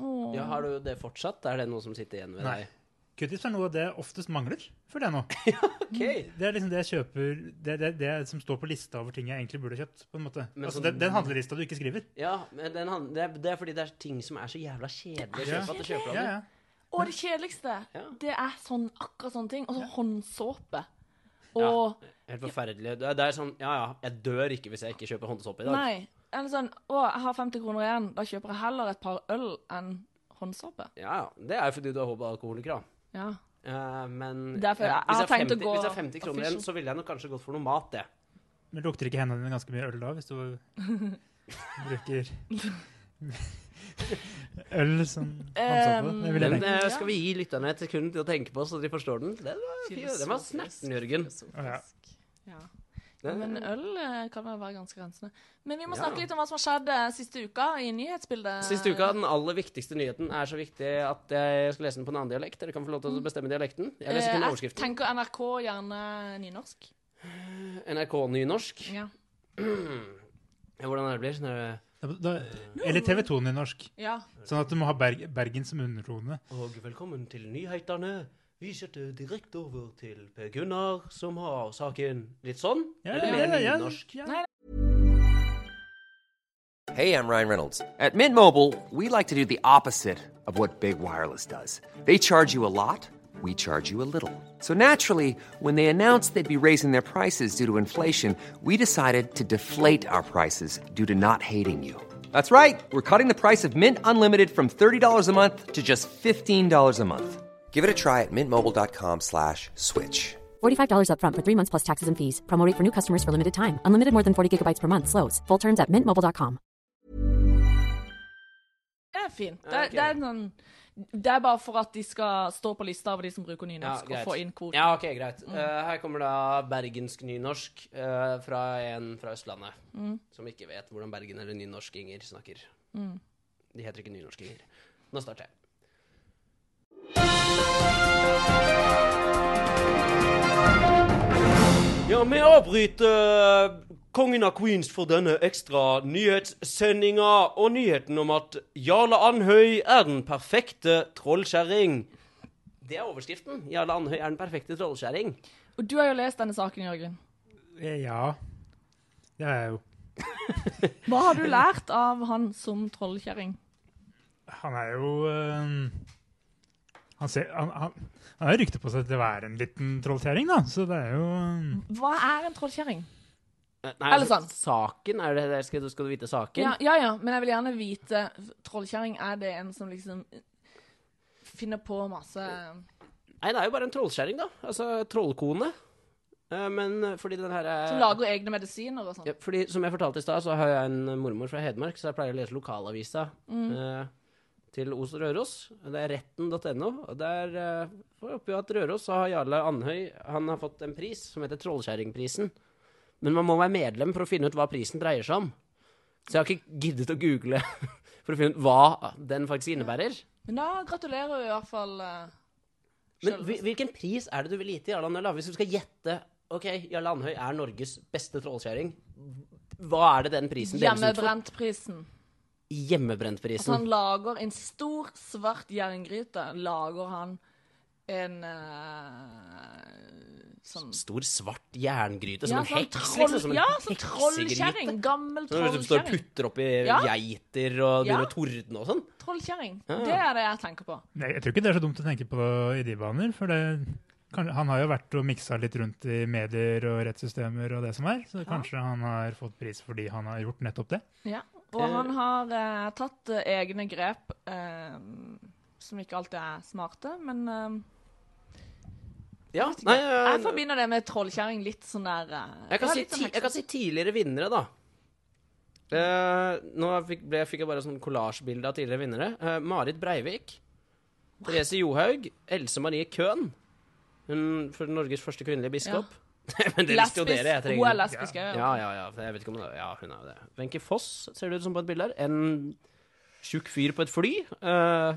Speaker 3: Åh.
Speaker 1: Ja, Har du det fortsatt? Er det noe som sitter igjen ved
Speaker 4: Nei.
Speaker 1: deg?
Speaker 4: Q-tips er noe av det jeg oftest mangler, føler jeg nå.
Speaker 1: Ok.
Speaker 4: Det er liksom det jeg kjøper Det, det, det som står på lista over ting jeg egentlig burde kjøpt, på en måte.
Speaker 1: Men
Speaker 4: altså,
Speaker 1: sånn-
Speaker 4: den, den handlelista du ikke skriver.
Speaker 1: Ja, men den, han- det, er, det er fordi det er ting som er så jævla kjedelig å
Speaker 4: Ja.
Speaker 1: kjøpe at du kjøper
Speaker 4: Ja,
Speaker 1: dem.
Speaker 4: ja.
Speaker 3: Og det kjedeligste,
Speaker 1: Ja.
Speaker 3: det er sånn, akkurat sånne ting. Og så håndsåpe.
Speaker 1: Ja.
Speaker 3: Og
Speaker 1: Helt forferdelig. Det er, det er sånn Ja ja, jeg dør ikke hvis jeg ikke kjøper håndsåpe i dag.
Speaker 3: Nei. Eller sånn Å, jeg har 50 kroner igjen. Da kjøper jeg heller et par øl enn håndsåpe.
Speaker 1: Ja, ja. Det er jo fordi du er alkoholiker, da.
Speaker 3: Ja.
Speaker 1: Eh, men
Speaker 3: Derfor-
Speaker 1: ja,
Speaker 3: jeg
Speaker 1: hvis, det
Speaker 3: har
Speaker 1: er
Speaker 3: tenkt å
Speaker 1: 50,
Speaker 3: gå
Speaker 1: hvis det er 50 kroner igjen,
Speaker 3: official.
Speaker 1: så ville jeg nok kanskje gått for noe mat, det.
Speaker 4: Men lukter ikke hendene dine ganske mye øl da, hvis du bruker øl som håndsåpe? Det vil jeg
Speaker 1: Men
Speaker 4: tenke.
Speaker 1: eh, skal vi gi lytterne et sekund til å tenke på, så de forstår den? Den var, fin. den var snerten, Jørgen.
Speaker 3: Filosofisk. Ja.
Speaker 1: Den,
Speaker 3: Men øl eh, kan vel være ganske rensende. Men vi må
Speaker 1: Ja.
Speaker 3: snakke litt om hva som har skjedd eh, siste uka i nyhetsbildet. Eh,
Speaker 1: Siste uka, den aller viktigste nyheten er så viktig at jeg skal lese den på en annen dialekt. Dere kan få lov til å bestemme dialekten. Jeg leser kun
Speaker 3: Eh, Jeg
Speaker 1: overskriften.
Speaker 3: tenker NRK gjerne nynorsk.
Speaker 1: NRK Nynorsk.
Speaker 3: Ja.
Speaker 1: Ja, Hvordan er det blir? Sånn er det-
Speaker 4: Da, da, eller TV 2 nynorsk.
Speaker 3: ja.
Speaker 4: Sånn at du må ha Berg, Bergen som undertone.
Speaker 1: Og velkommen til nyhetene. Vi setter direkte over til Per Gunnar, som har saken litt sånn. Eller mer nynorsk.
Speaker 4: ja.
Speaker 5: Hey, I'm Ryan Reynolds. At Mint Mobile, we like to do the opposite of what Big Wireless does. They charge you a lot, we charge you a little. So naturally, when they announced they'd be raising their prices due to inflation, we decided to deflate our prices due to not hating you. That's right. We're cutting the price of Mint Unlimited from $30 a month to just $15 a month. Give it a try at mintmobile.com slash switch.
Speaker 6: $45 upfront for three months plus taxes and fees. Promo rate for new customers for limited time. Unlimited more than 40 gigabytes per month. Slows. Full terms at mintmobile.com.
Speaker 3: Det er fint. Det,
Speaker 1: Ja, ok.
Speaker 3: det, er sånn, det er bare for at de skal stå på lista over de som bruker
Speaker 1: Ja,
Speaker 3: nynorsk,
Speaker 1: greit.
Speaker 3: og få inn kvoten. Mm.
Speaker 1: Ja, ok, greit. Eh, her kommer da bergensk nynorsk eh, fra en fra Østlandet
Speaker 3: Mm.
Speaker 1: som ikke vet hvordan Bergen eller nynorskinger snakker. De heter ikke nynorskinger. Nå starter jeg. Ja, vi avbryter eh, kongen av Queens for denne ekstra nyhetssendinga og nyheten om at Jarle Andhøy er den perfekte trollkjerring. Det er overskriften. Jarle Andhøy er den perfekte Eh, trollskjæring.
Speaker 3: Og du har jo lest denne saken, Jørgen.
Speaker 4: Eh, ja. Det er jeg jo.
Speaker 3: Hva har du lært av han som trollkjerring?
Speaker 4: Han er jo eh, han, ser, han, han, han har rykte på seg til å være en liten trollkjerring, da. Så det er jo eh,
Speaker 3: Hva er en trollkjerring?
Speaker 1: Nei,
Speaker 3: Eller
Speaker 1: altså,
Speaker 3: sånn.
Speaker 1: Saken? Er det, det- skal, du, skal du vite saken?
Speaker 3: Ja, ja, ja, men jeg vil gjerne vite Trollkjerring, er det en som liksom finner på masse
Speaker 1: Nei, det er jo bare en trollskjæring, da. Altså trollkone. Eh, Men eh, fordi den her er
Speaker 3: Som lager egne medisiner og sånn?
Speaker 1: Ja, fordi Som jeg fortalte i stad, så har jeg en mormor fra Hedmark, så jeg pleier å lese lokalavisa eh, til Os og Røros. Det er retten.no. og Der eh, oppe at Røros så har Jarle Andhøy han har fått en pris som heter Trollkjerringprisen. Men man må være medlem for å finne ut hva prisen dreier seg om. Så jeg har ikke giddet å google for å finne ut hva den faktisk innebærer.
Speaker 3: Men da gratulerer vi i hvert fall eh,
Speaker 1: Men
Speaker 3: Sjølveste.
Speaker 1: hvil- hvilken pris er det du vil gi til Jarle Andhøy Lave? Hvis du skal gjette Ok, Jarle Andhøy er Norges beste trollkjerring. Hva er det den prisen deles ut for?
Speaker 3: Hjemmebrentprisen. Altså,
Speaker 1: Hjemmebrentprisen.
Speaker 3: han lager en stor, svart jerngryte. Lager han en eh, sånn
Speaker 1: Stor svart jerngryte som
Speaker 3: Ja,
Speaker 1: en
Speaker 3: sånn
Speaker 1: heks,
Speaker 3: troll-
Speaker 1: liksom. Som en
Speaker 3: ja, sånn
Speaker 1: heksegryte.
Speaker 3: trollkjerring. Gammel
Speaker 1: Som du liksom står og
Speaker 3: trollkjerring.
Speaker 1: putter oppi
Speaker 3: Ja.
Speaker 1: geiter og begynner
Speaker 3: Ja.
Speaker 1: å tordne og sånn.
Speaker 3: Trollkjerring.
Speaker 1: Ja.
Speaker 3: Det er det jeg tenker på.
Speaker 4: Nei, Jeg tror ikke det er så dumt å tenke på det i de baner, for det kan, han har jo vært og miksa litt rundt i medier og rettssystemer og det som er, så kanskje han har fått pris fordi han har gjort nettopp det.
Speaker 3: Ja. Og han har eh, tatt eh, egne grep eh, som ikke alltid er smarte, men eh,
Speaker 1: Ja, nei,
Speaker 3: jeg
Speaker 1: jeg,
Speaker 3: forbinder det med trollkjerring litt sånn der eh,
Speaker 1: jeg, kan
Speaker 3: ja,
Speaker 1: si
Speaker 3: litt sånn
Speaker 1: ti, jeg kan si tidligere vinnere, da. Eh, nå fikk, ble, fikk jeg bare sånn kollasjbilde av tidligere vinnere. Eh, Marit Breivik. Therese Johaug. Else Marie Køhn. Hun for Norges første kvinnelige biskop. Men det visste jo
Speaker 3: Lesbisk.
Speaker 1: dere. Jeg trenger
Speaker 3: Hun er lesbisk òg.
Speaker 1: Ja, ja, ja. Jeg vet ikke om det Ja, hun er jo det. Wenche Foss ser det ut som på et bilde her. En tjukk fyr på et fly. Uh,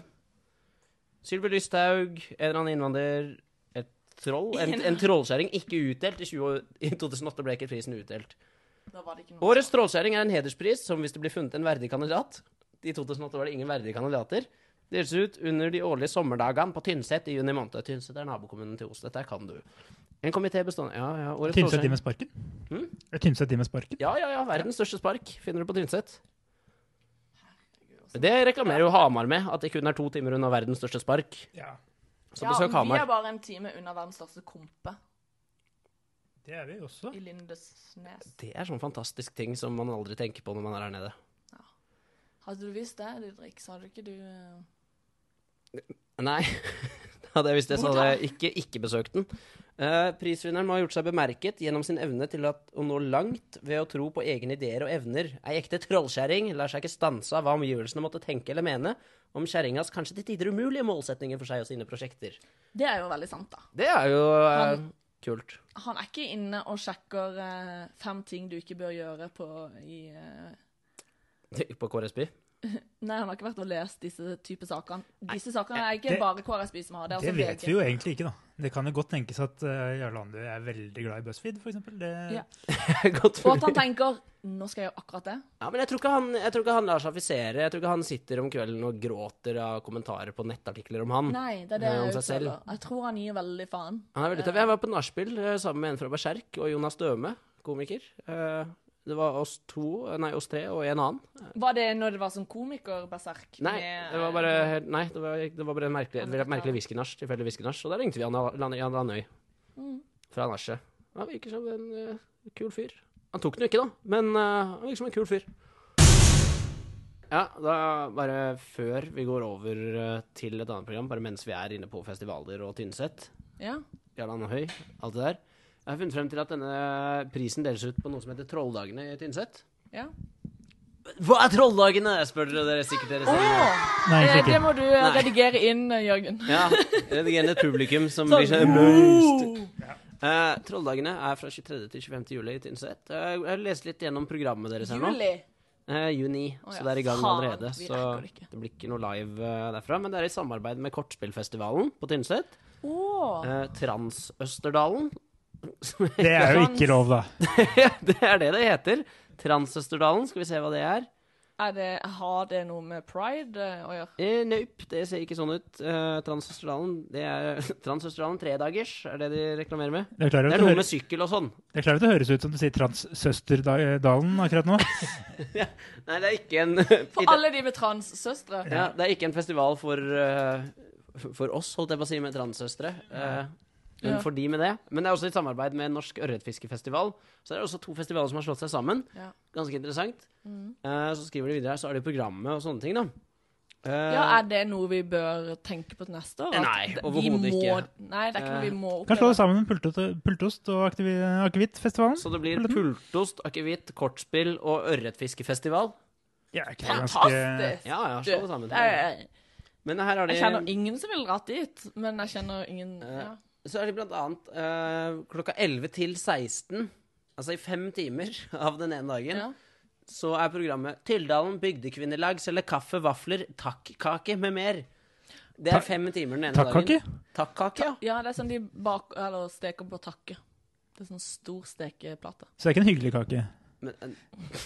Speaker 1: Sylvi Lysthaug, en eller annen innvandrer, et troll. En, en trollskjæring ikke utdelt. I, 20, år- I 2008 ble ikke prisen utdelt.
Speaker 3: Da var det ikke noe.
Speaker 1: Årets trollskjæring er en hederspris som hvis det blir funnet en verdig kandidat I 2008 var det ingen verdige kandidater. Deles ut under de årlige sommerdagene på Tynset i juni måned. Tynset er nabokommunen til Os. Dette her kan du. En komité bestående Ja, ja. Årets
Speaker 4: Tynset
Speaker 1: trollskjæring-
Speaker 4: de med sparken?
Speaker 1: Hm?
Speaker 3: Mm?
Speaker 4: Er Tynset de med sparken?
Speaker 1: ja, ja, ja. Verdens største spark finner du på Tynset. Det reklamerer jo Hamar med, at det kun er to timer unna verdens største spark.
Speaker 4: Ja,
Speaker 1: Så besøk
Speaker 3: vi er
Speaker 1: Hamar.
Speaker 3: bare en time unna verdens største kompe
Speaker 4: det er vi også.
Speaker 3: i Lindesnes.
Speaker 1: Det er sånn fantastisk ting som man aldri tenker på når man er her nede.
Speaker 3: Hadde du visst det, Didrik, så hadde ikke du eh,
Speaker 1: Nei, hadde jeg visst det, så hadde jeg ikke, ikke besøkt den. Eh, prisvinneren må ha gjort seg bemerket gjennom sin evne til at, å nå langt ved å tro på egne ideer og evner. Ei ekte trollskjæring lar seg ikke stanse av hva omgivelsene måtte tenke eller mene om kjerringas kanskje til tider umulige målsetninger for seg og sine prosjekter.
Speaker 3: Det er jo veldig sant, da.
Speaker 1: Det er jo eh,
Speaker 3: Han-
Speaker 1: kult.
Speaker 3: Han er ikke inne og sjekker eh, fem ting du ikke bør gjøre på i eh,
Speaker 1: På KRSB?
Speaker 3: Nei, han har ikke vært og lest disse type sakene. Disse sakene er ikke
Speaker 4: det-
Speaker 3: bare KRSB som har. Det, er
Speaker 4: Det
Speaker 3: også
Speaker 4: vet
Speaker 3: VG.
Speaker 4: vi jo egentlig ikke, da. Det kan jo godt tenkes at eh, Jarle Andøy er veldig glad i BuzzFeed, for eksempel. Det,
Speaker 3: Ja.
Speaker 1: Godt
Speaker 3: Og at han
Speaker 1: mulig.
Speaker 3: tenker nå skal jeg gjøre akkurat det.
Speaker 1: Ja, men jeg tror, ikke han, jeg tror ikke han lar seg affisere. Jeg tror ikke han sitter om kvelden og gråter av kommentarer på nettartikler om han.
Speaker 3: Nei, det er det
Speaker 1: Ja, om
Speaker 3: jeg
Speaker 1: seg selv.
Speaker 3: utføler. Jeg tror han gir veldig faen.
Speaker 1: Han er veldig tøff. Jeg var på nachspiel eh, sammen med en fra Berserk og Jonas Døme, komiker. Eh, Det var oss to, eh, nei, oss tre og en annen.
Speaker 3: Var det når det var som komiker, Berserk?
Speaker 1: Nei,
Speaker 3: med- eh,
Speaker 1: det var bare, nei, det var, det var bare en merkelig, et merkelig whiskinach, tilfeldig whiskinach. Og da ringte vi Jan Jan Landøy fra nachet. Han virker som en eh, kul fyr. Han tok den jo ikke, da, men eh, han virker som en kul fyr. Ja, da bare før vi går over eh, til et annet program, bare mens vi er inne på festivaler og Tynset,
Speaker 3: Ja.
Speaker 1: Jarland Høy, alt det der. Jeg har funnet frem til at denne prisen deles ut på noe som heter Trolldagene i Tynset.
Speaker 3: ja.
Speaker 1: Hva er Trolldagene? spør dere dere sikkert dere selv.
Speaker 4: Nei,
Speaker 3: Eh,
Speaker 4: egentlig
Speaker 3: det
Speaker 4: ikke.
Speaker 3: må du eh, redigere inn, eh, Jørgen.
Speaker 1: Ja, redigerende publikum som
Speaker 3: Sånn,
Speaker 1: blir så amazed. Eh, trolldagene er fra 23. til 25. juli i Tynset. Eh, jeg har lest litt gjennom programmet deres her nå.
Speaker 3: Juli.
Speaker 1: Eh, juni,
Speaker 3: Å
Speaker 1: så
Speaker 3: ja,
Speaker 1: det er i gang
Speaker 3: faen,
Speaker 1: allerede.
Speaker 3: vi
Speaker 1: Så
Speaker 3: rekker det
Speaker 1: det
Speaker 3: ikke.
Speaker 1: blir ikke noe live eh, derfra. Men det er i samarbeid med Kortspillfestivalen på Tynset.
Speaker 3: Åh.
Speaker 1: Eh, Transøsterdalen. som jeg-
Speaker 4: det er jo ikke lov, da.
Speaker 1: det er det det heter. Transøsterdalen, skal vi se hva det er.
Speaker 3: Er det, har det noe med pride eh, å gjøre?
Speaker 1: Eh, Nope, det ser ikke sånn ut. Eh, Transøsterdalen det er Transøsterdalen tredagers er det de reklamerer med.
Speaker 4: Det er klart
Speaker 1: Det er
Speaker 4: at det,
Speaker 1: noe med
Speaker 4: høres,
Speaker 1: sykkel og sånn.
Speaker 4: det, er klart at det høres ut som du sier Transsøsterdalen akkurat nå.
Speaker 1: Nei, det er ikke en
Speaker 3: For alle de med transsøstre?
Speaker 1: ja, Det er ikke en festival for, eh, for oss, holdt jeg på å si, med transsøstre. Eh, men
Speaker 3: Ja.
Speaker 1: for de med det. Men det er også i samarbeid med Norsk ørretfiskefestival. Så det er også to festivaler som har slått seg sammen.
Speaker 3: Ja. Mm.
Speaker 1: Ganske interessant. Eh, så skriver de videre her, så er det jo programmet og sånne ting, da. Eh,
Speaker 3: Ja, Er det noe vi bør tenke på til neste år? At
Speaker 1: Nei,
Speaker 3: vi
Speaker 1: overhodet
Speaker 3: må-
Speaker 1: ikke. Eh,
Speaker 3: Nei, det er ikke noe vi må
Speaker 4: Kan slå
Speaker 3: oppleve.
Speaker 4: det sammen med Pultot- Pultost og Aktivi- Akevittfestivalen.
Speaker 1: Så det blir pultost, akevitt, kortspill og ørretfiskefestival.
Speaker 4: Ja, er ikke det ganske-
Speaker 3: Fantastisk!
Speaker 1: Ja, ja,
Speaker 3: Du,
Speaker 1: slå det sammen.
Speaker 3: det er-
Speaker 1: Men her har de
Speaker 3: Jeg kjenner ingen som ville dratt dit, men jeg kjenner ingen
Speaker 1: Eh,
Speaker 3: ja.
Speaker 1: Så er det blant annet eh, klokka 11 til 16, altså i fem timer av den ene dagen,
Speaker 3: Ja.
Speaker 1: så er programmet Tyldalen bygdekvinnelag selger kaffe, vafler, takkake med mer. Det er
Speaker 4: Tak-
Speaker 1: fem timer den ene
Speaker 4: Takkake?
Speaker 1: dagen. Takkake? ja.
Speaker 3: ja, det er sånn de bak, eller steker på takke. Det er sånn stor stekeplate.
Speaker 4: Så det er ikke en hyggelig kake.
Speaker 1: Men, eh,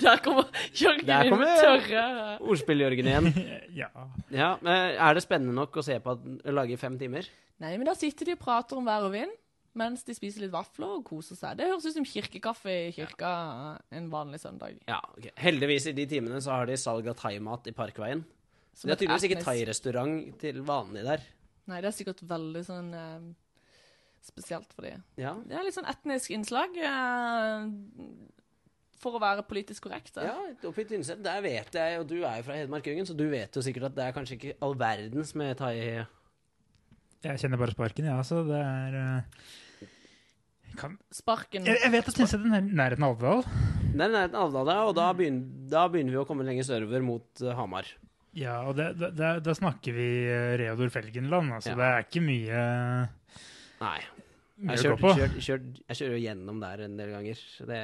Speaker 3: Der kommer Jørgen
Speaker 1: Der
Speaker 3: inn
Speaker 1: kommer-
Speaker 3: med tørre
Speaker 1: Ordspill, Jørgen, igjen.
Speaker 4: Ja.
Speaker 1: Ja, men er det spennende nok å se på at den lager i fem timer?
Speaker 3: Nei, men da sitter de og prater om vær og vind mens de spiser litt vafler og koser seg. Det høres ut som kirkekaffe i kirka en vanlig søndag.
Speaker 1: Ja, ok. Heldigvis i de timene så har de salg av thaimat i Parkveien. Så
Speaker 3: Som
Speaker 1: det er
Speaker 3: et
Speaker 1: tydeligvis ikke
Speaker 3: etnisk-
Speaker 1: thai-restaurant til vanlig der.
Speaker 3: Nei, det er sikkert veldig sånn eh, spesielt for de.
Speaker 1: Ja,
Speaker 3: Det er litt sånn etnisk innslag. Eh, for å være politisk korrekt. da.
Speaker 1: Ja, oppe i Tynset. Der vet jeg, og du er jo fra Hedmark, Jørgen, så du vet jo sikkert at det er kanskje ikke all verdens med thai
Speaker 4: Jeg kjenner bare sparken, jeg, ja, altså. Det er eh, kan,
Speaker 3: Sparken
Speaker 4: jeg, jeg vet at Tynset er nær- nærheten av Alvdal.
Speaker 1: Nei, nei, Alvdal, ja, og da begynner, da begynner vi å komme lenger sørover mot eh, Hamar.
Speaker 4: Ja, og det, det, det, da snakker vi eh, Reodor Felgenland, altså.
Speaker 1: Ja.
Speaker 4: Det er ikke mye,
Speaker 1: Nei.
Speaker 4: mye
Speaker 1: Jeg
Speaker 4: å gå
Speaker 1: kjører,
Speaker 4: på.
Speaker 1: kjørt, kjørt, jeg kjører jo gjennom der en del ganger. Det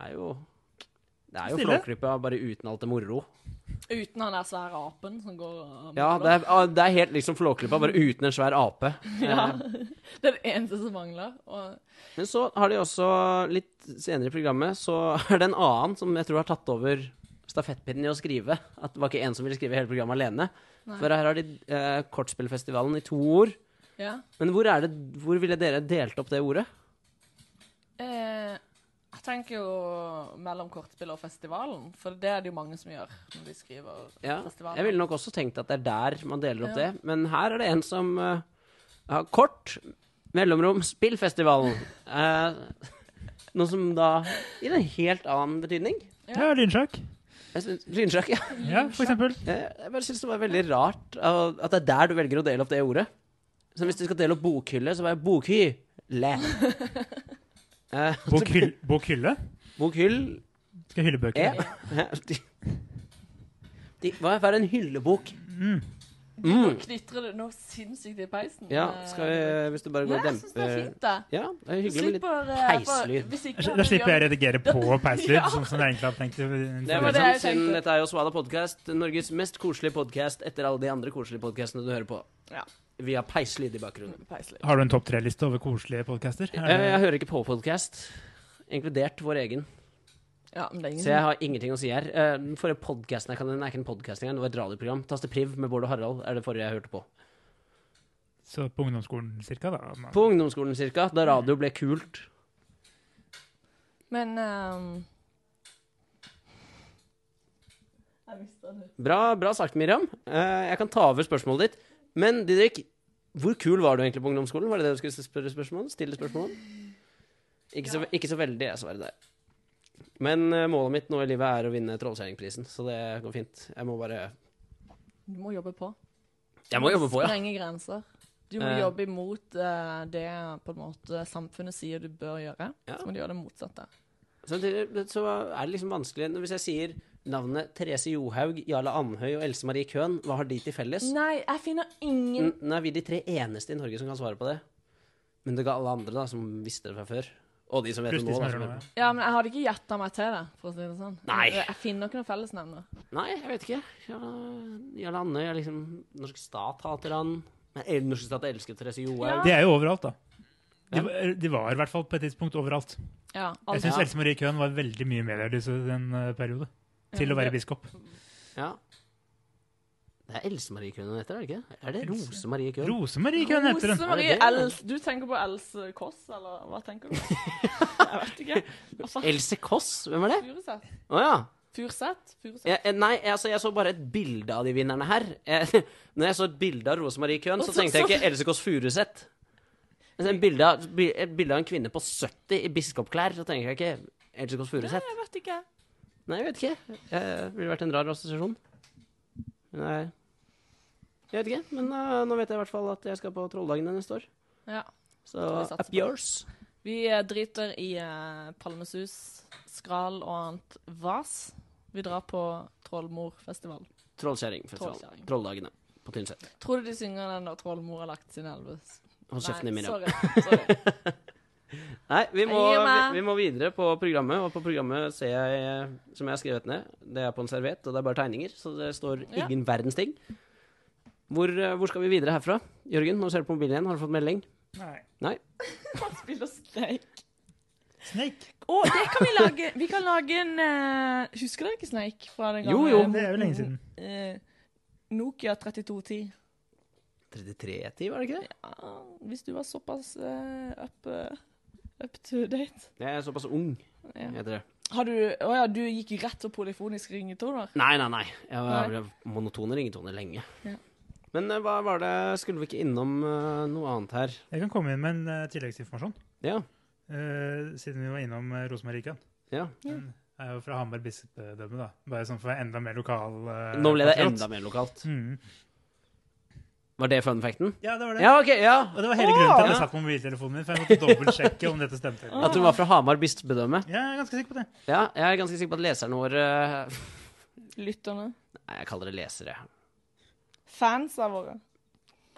Speaker 1: er jo Det er jo
Speaker 4: Stille.
Speaker 1: Flåklypa, bare uten alt det moro.
Speaker 3: uten han der svære apen som går og
Speaker 1: Ja, det er, ah, det er helt liksom Flåklypa, bare uten en svær ape.
Speaker 3: ja.
Speaker 1: Eh,
Speaker 3: Det er det eneste som mangler. Og
Speaker 1: Men så har de også, litt senere i programmet, så er det en annen som jeg tror har tatt over stafettpinnen i å skrive. At det var ikke en som ville skrive hele programmet alene. For her har de eh, Kortspillfestivalen i to ord.
Speaker 3: ja.
Speaker 1: Men hvor, er det, hvor ville dere delt opp det ordet?
Speaker 3: Eh, jeg tenker jo mellom kortspill og festivalen, for det er det jo mange som gjør når de skriver
Speaker 1: Ja,
Speaker 3: festivalen.
Speaker 1: jeg ville nok også tenkt at det er der man deler opp
Speaker 3: Ja.
Speaker 1: det. Men her er det en som eh, har kort mellomrom spillfestivalen. Eh, noe som da gir en helt annen betydning.
Speaker 4: Ja, lynsjakk.
Speaker 1: Jeg synes, lynsjakk, ja.
Speaker 4: Ja, for eksempel.
Speaker 1: Eh, Jeg bare synes det var veldig rart uh, at det er der du velger å dele opp det ordet. Så hvis du skal dele opp bokhylle, så bare bokhylle. Eh,
Speaker 4: Bokhyll, bokhylle?
Speaker 1: bokhyll
Speaker 4: Skal hylle bøker?
Speaker 1: er de, de, Hva er en hyllebok?
Speaker 3: Nå knitrer det noe sinnssykt i peisen.
Speaker 1: Mm.
Speaker 3: Eh,
Speaker 1: Ja, skal vi, hvis du bare går
Speaker 3: Nei,
Speaker 1: og
Speaker 3: jeg syns det er
Speaker 1: demper
Speaker 3: fint, det.
Speaker 1: Ja, det er hyggelig med litt
Speaker 3: Slipper, eh, for-
Speaker 1: peislyd.
Speaker 3: hvis ikke
Speaker 4: Da
Speaker 3: hadde
Speaker 4: slipper jeg å
Speaker 3: Jørgen-
Speaker 4: redigere på peislyd,
Speaker 3: Ja.
Speaker 4: sånn som jeg egentlig hadde tenkt. å-
Speaker 1: det er vel
Speaker 3: var
Speaker 1: sånn,
Speaker 3: det jeg
Speaker 1: siden
Speaker 3: tenkte.
Speaker 1: Dette er jo Svada Podcast, Norges mest koselige podkast etter alle de andre koselige podkastene du hører på.
Speaker 3: Ja.
Speaker 1: Vi har peislyd i bakgrunnen.
Speaker 3: Peislyd.
Speaker 4: Har du en topp tre-liste over koselige podcaster? Eh, Er
Speaker 1: Jeg, jeg
Speaker 4: det-
Speaker 1: hører ikke på podkast, inkludert vår egen.
Speaker 3: Ja, men det er ingen
Speaker 1: Så jeg har ingenting å si her. Eh, Den forrige podcasten jeg kan den er ikke en podcast engang, det var et radioprogram. Tastepriv med Bård og Harald er det forrige jeg hørte på.
Speaker 4: Så på ungdomsskolen cirka, da. man-
Speaker 1: På ungdomsskolen cirka, da radio ble kult.
Speaker 3: Men ehm, Jeg mista det.
Speaker 1: Bra, bra sagt, Miriam. Eh, Jeg kan ta over spørsmålet ditt. Men Didrik, hvor kul var du egentlig på ungdomsskolen? Var det det du skulle spørre spørsmål? om? Stille spørsmål? om? Ikke så, ikke så veldig, jeg svarer det. Men eh, målet mitt nå i livet er å vinne Trollkjerringprisen, så det går fint. Jeg må bare
Speaker 3: Du må jobbe på.
Speaker 1: Jeg må jobbe på, ja.
Speaker 3: Strenge grenser. Du må
Speaker 1: Eh.
Speaker 3: jobbe imot eh, det på en måte samfunnet sier du bør gjøre.
Speaker 1: Ja.
Speaker 3: Så må du gjøre det motsatte.
Speaker 1: Samtidig så er det liksom vanskelig når- Hvis jeg sier navnet Therese Johaug, Jarle Andhøy og Else Marie Køhn, hva har de til felles?
Speaker 3: Nei, jeg finner
Speaker 1: N-
Speaker 3: ingen
Speaker 1: Nå er vi de tre eneste i Norge som kan svare på det. Men det ga alle andre da, som visste det fra før. Og de som vet det
Speaker 4: Plutselig
Speaker 1: nå.
Speaker 4: som
Speaker 1: Da,
Speaker 4: hører
Speaker 1: som
Speaker 4: nå, ja.
Speaker 1: hører på.
Speaker 3: Ja, men jeg hadde ikke gjetta meg til det. for å si det sånn.
Speaker 1: Nei.
Speaker 3: Jeg, jeg finner ikke noen fellesnevner.
Speaker 1: Nei, jeg vet ikke. Jarle- Jarle Andhøy er liksom Norsk stat hater han. Men el- norsk stat elsker Therese Johaug.
Speaker 4: eh, De er jo overalt, da. De, var- de var i hvert fall på et tidspunkt overalt.
Speaker 3: Ja, altså, alt.
Speaker 4: Jeg syns
Speaker 1: Ja.
Speaker 4: Else Marie Køhn var veldig mye medieartist i den eh, periode. Til å være biskop.
Speaker 1: Ja. Det er Else Marie Køhn hun heter, er det ikke? det? Er det
Speaker 4: Else-
Speaker 1: Rose Marie Køhn?
Speaker 4: Rose Marie Køhn heter
Speaker 3: Rose
Speaker 4: hun!
Speaker 3: Marie
Speaker 1: Er det det?
Speaker 3: Els- Du tenker på Else Kåss, eller hva tenker du? Jeg vet ikke. Hva faen?
Speaker 1: Else Kåss? Hvem er det?
Speaker 3: Furuseth?
Speaker 1: Å ja.
Speaker 3: Furuseth? Furuseth?
Speaker 1: Jeg, jeg- nei, jeg, altså, jeg så bare et bilde av de vinnerne her. Jeg, når jeg så et bilde av Rose Marie Køhn, så
Speaker 3: så-
Speaker 1: tenkte jeg
Speaker 3: så-
Speaker 1: ikke Else Kåss Furuseth. Men så en bilde av- bi- Et bilde av en kvinne på 70 i biskopklær, så tenker jeg ikke Else Kås Furuseth.
Speaker 3: Jeg vet ikke.
Speaker 1: Nei, jeg vet ikke. Eh, Det ville vært en rar assosiasjon. Nei. Jeg vet ikke, men eh, nå vet jeg i hvert fall at jeg skal på Trolldagene neste år.
Speaker 3: Ja.
Speaker 1: Så
Speaker 3: vi satser
Speaker 1: up
Speaker 3: på det.
Speaker 1: yours.
Speaker 3: Vi eh, driter i eh, palmesus, skral og annet vas. Vi drar på Trollmorfestival.
Speaker 1: Trollkjerringfestivalen.
Speaker 3: Trollkjerring.
Speaker 1: Trolldagene på Tynset.
Speaker 3: Tror du de synger den da Trollmor har lagt sin elve?
Speaker 1: Hold kjeften din, Miriam.
Speaker 3: sorry. sorry.
Speaker 1: Nei, vi må,
Speaker 3: Jeg gir
Speaker 1: vi,
Speaker 3: meg.
Speaker 1: vi må videre på programmet, og på programmet ser jeg, eh, som jeg har skrevet ned, det er på en serviett, og det er bare tegninger, så det står
Speaker 3: Ja.
Speaker 1: ingen verdens ting. Hvor, eh, hvor skal vi videre herfra? Jørgen, nå ser du på mobilen igjen, har du fått melding?
Speaker 4: Nei.
Speaker 1: Nei?
Speaker 3: Han spiller Snake.
Speaker 4: Snake.
Speaker 3: Å, det kan vi lage! Vi kan lage en eh, Husker dere ikke Snake? Fra den
Speaker 1: Jo,
Speaker 3: gamle,
Speaker 1: jo.
Speaker 4: Det er jo lenge siden.
Speaker 3: eh, Nokia 3210.
Speaker 1: 33-10, var det ikke det?
Speaker 3: Ja, hvis du var såpass eh, up, eh, up to date.
Speaker 1: Jeg er såpass ung,
Speaker 3: Ja.
Speaker 1: heter det.
Speaker 3: Har du Å ja, du gikk jo rett på polyfonisk ringetoner?
Speaker 1: Nei, nei, nei. Jeg
Speaker 3: Nei.
Speaker 1: var monotone ringetoner lenge.
Speaker 3: Ja.
Speaker 1: Men eh, hva var det, skulle vi ikke innom eh, noe annet her?
Speaker 4: Jeg kan komme inn med en eh, tilleggsinformasjon,
Speaker 1: Ja,
Speaker 4: eh, siden vi var innom eh, Rose Marie Køhn.
Speaker 1: ja.
Speaker 4: Jeg er jo fra Hamar bispedømme, da. Bare sånn for å være enda mer lokal. eh,
Speaker 1: Nå ble det
Speaker 4: patriot.
Speaker 1: enda mer lokalt.
Speaker 4: Mm.
Speaker 1: Var det fun facten?
Speaker 4: Ja, det var det.
Speaker 1: Ja, ok, ja.
Speaker 4: Og det var hele grunnen til at
Speaker 1: Ja.
Speaker 4: jeg satt på mobiltelefonen min, for jeg måtte dobbeltsjekke om dette stemte. eller
Speaker 1: At
Speaker 4: ikke.
Speaker 1: hun var fra Hamar bispedømme.
Speaker 4: Ja, jeg er ganske sikker på det.
Speaker 1: Ja, jeg er ganske sikker på at leserne våre eh,
Speaker 3: Lytterne.
Speaker 1: Nei, jeg kaller det lesere.
Speaker 3: Fans av våre.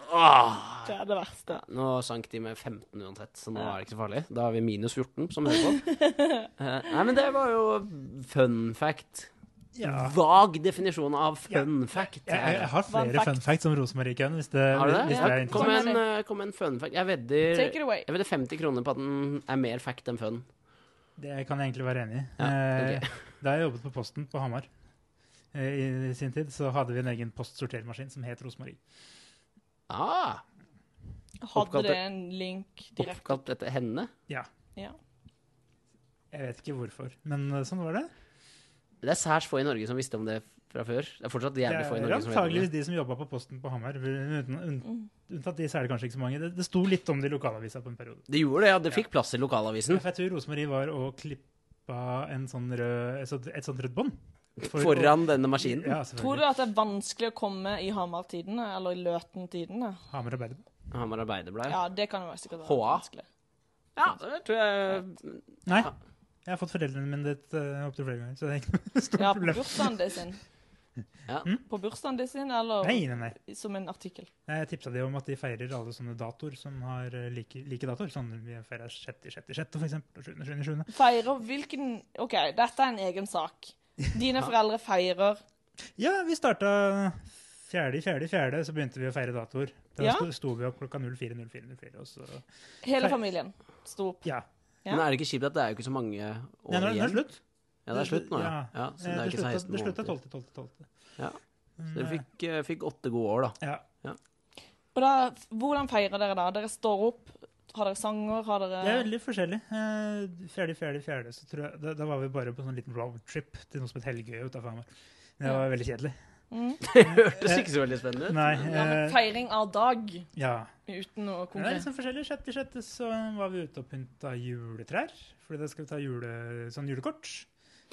Speaker 1: Åh,
Speaker 4: Ah.
Speaker 3: Det er det verste.
Speaker 1: nå sank de med 15 uansett, så nå er det ikke så farlig. Da er vi minus 14, som hører på. Eh, Nei, men det var jo fun fact.
Speaker 4: Ja.
Speaker 1: Vag definisjon av fun fact.
Speaker 4: Jeg, jeg, jeg har
Speaker 3: Fun
Speaker 4: flere
Speaker 3: fact.
Speaker 4: fun facts om Rosemarie Køhn, hvis det,
Speaker 1: Har du det?
Speaker 4: hvis det
Speaker 1: Ja,
Speaker 4: er
Speaker 1: kom,
Speaker 4: interessant.
Speaker 1: med en, eh, kom med en fun fact. Jeg vedder,
Speaker 3: Take it away.
Speaker 1: jeg vedder 50 kroner på at den er mer fact enn fun.
Speaker 4: Det kan jeg egentlig være enig i.
Speaker 1: Ja,
Speaker 4: Eh,
Speaker 1: ok.
Speaker 4: Da jeg jobbet på Posten på Hamar eh, i i sin tid, så hadde vi en egen postsortermaskin som het Rosemarie.
Speaker 1: Ah,
Speaker 3: Hadde
Speaker 1: Oppkalt-
Speaker 3: det en link direkte?
Speaker 1: oppkalt etter henne?
Speaker 4: Ja.
Speaker 3: Ja.
Speaker 4: Jeg vet ikke hvorfor, men eh, sånn var det.
Speaker 1: Det er særs få i Norge som visste om det fra før. Det er fortsatt
Speaker 4: Det
Speaker 1: jævlig få i
Speaker 4: er
Speaker 1: Norge som vet om det. Mm.
Speaker 4: antageligvis de som jobba på Posten på Hamar. Uten, unn, unntatt de, så er det kanskje ikke så mange. Det, det sto litt om det i lokalavisa på en periode.
Speaker 1: Det gjorde det, ja. Det fikk plass i lokalavisen.
Speaker 4: For jeg tror Rosemarie var og klippa en sånn rød, et, sånt, et sånt rødt bånd. For-
Speaker 1: Foran denne maskinen.
Speaker 4: Ja,
Speaker 3: Tror du
Speaker 4: selvfølgelig.
Speaker 3: at det er vanskelig å komme i Hamar-tidene, eller i Løten-tidene?
Speaker 4: Hamar arbeider.
Speaker 1: Hamar Arbeiderblad. Ja.
Speaker 3: Ja, det kan jo være sikkert være
Speaker 1: HA.
Speaker 3: vanskelig.
Speaker 1: ja, det tror jeg
Speaker 4: Nei.
Speaker 1: Ah.
Speaker 4: Jeg har fått foreldrene mine ditt uh, opptil flere ganger, så det er ikke noe stort
Speaker 3: Ja, på
Speaker 4: problem.
Speaker 3: bursdagen din sin.
Speaker 1: Ja.
Speaker 3: Hmm? På bursdagen din sin, eller
Speaker 4: Nei, nei, nei.
Speaker 3: som en artikkel.
Speaker 4: Jeg tipsa de om at de feirer alle sånne datoer som har eh, like, like datoer. Sånn vi feirer 6., 6., 6., for eksempel, og 7., 7., 7.
Speaker 3: Feirer hvilken OK, dette er en egen sak. Dine foreldre feirer
Speaker 4: Ja, vi starta 4., 4., 4., så begynte vi å feire datoer. Da
Speaker 3: Ja.
Speaker 4: sto, sto vi opp klokka 04, 04, 04, og så
Speaker 3: Hele
Speaker 4: Feir-
Speaker 3: familien sto opp.
Speaker 4: Ja.
Speaker 3: Ja.
Speaker 1: Men er det ikke kjipt at det er jo ikke så mange år
Speaker 4: Nei, nå er det
Speaker 1: igjen?
Speaker 4: slutt.
Speaker 1: Ja, det er slutt nå, ja.
Speaker 4: Ja.
Speaker 1: ja så Altså, det er
Speaker 4: Eh, det
Speaker 1: ikke
Speaker 4: slutta-
Speaker 1: 16
Speaker 4: det slutta
Speaker 1: måneder.
Speaker 4: 12., 12., 12.
Speaker 1: Ja.
Speaker 4: Mm,
Speaker 1: Så dere fikk, eh, fikk åtte gode år, da.
Speaker 4: Ja.
Speaker 3: Og da, hvordan feirer dere da? Dere står opp, har dere sanger, har dere
Speaker 4: Det er veldig forskjellig. Eh, Fjerde, fjerde, fjerde, så tror jeg, da, da var vi bare på en sånn liten roadtrip til noe som het Helgøy utafor Hamar. Det var veldig kjedelig.
Speaker 1: Hørtes ikke så veldig spennende ut.
Speaker 4: Eh, Nei.
Speaker 3: ja, men
Speaker 4: eh,
Speaker 3: Feiring av dag
Speaker 4: ja.
Speaker 3: uten noe
Speaker 4: Det er
Speaker 3: konkret.
Speaker 4: liksom forskjellig. Sjette, sjette så var vi ute og pynta juletrær. Fordi da skal vi ta jule, sånn julekort.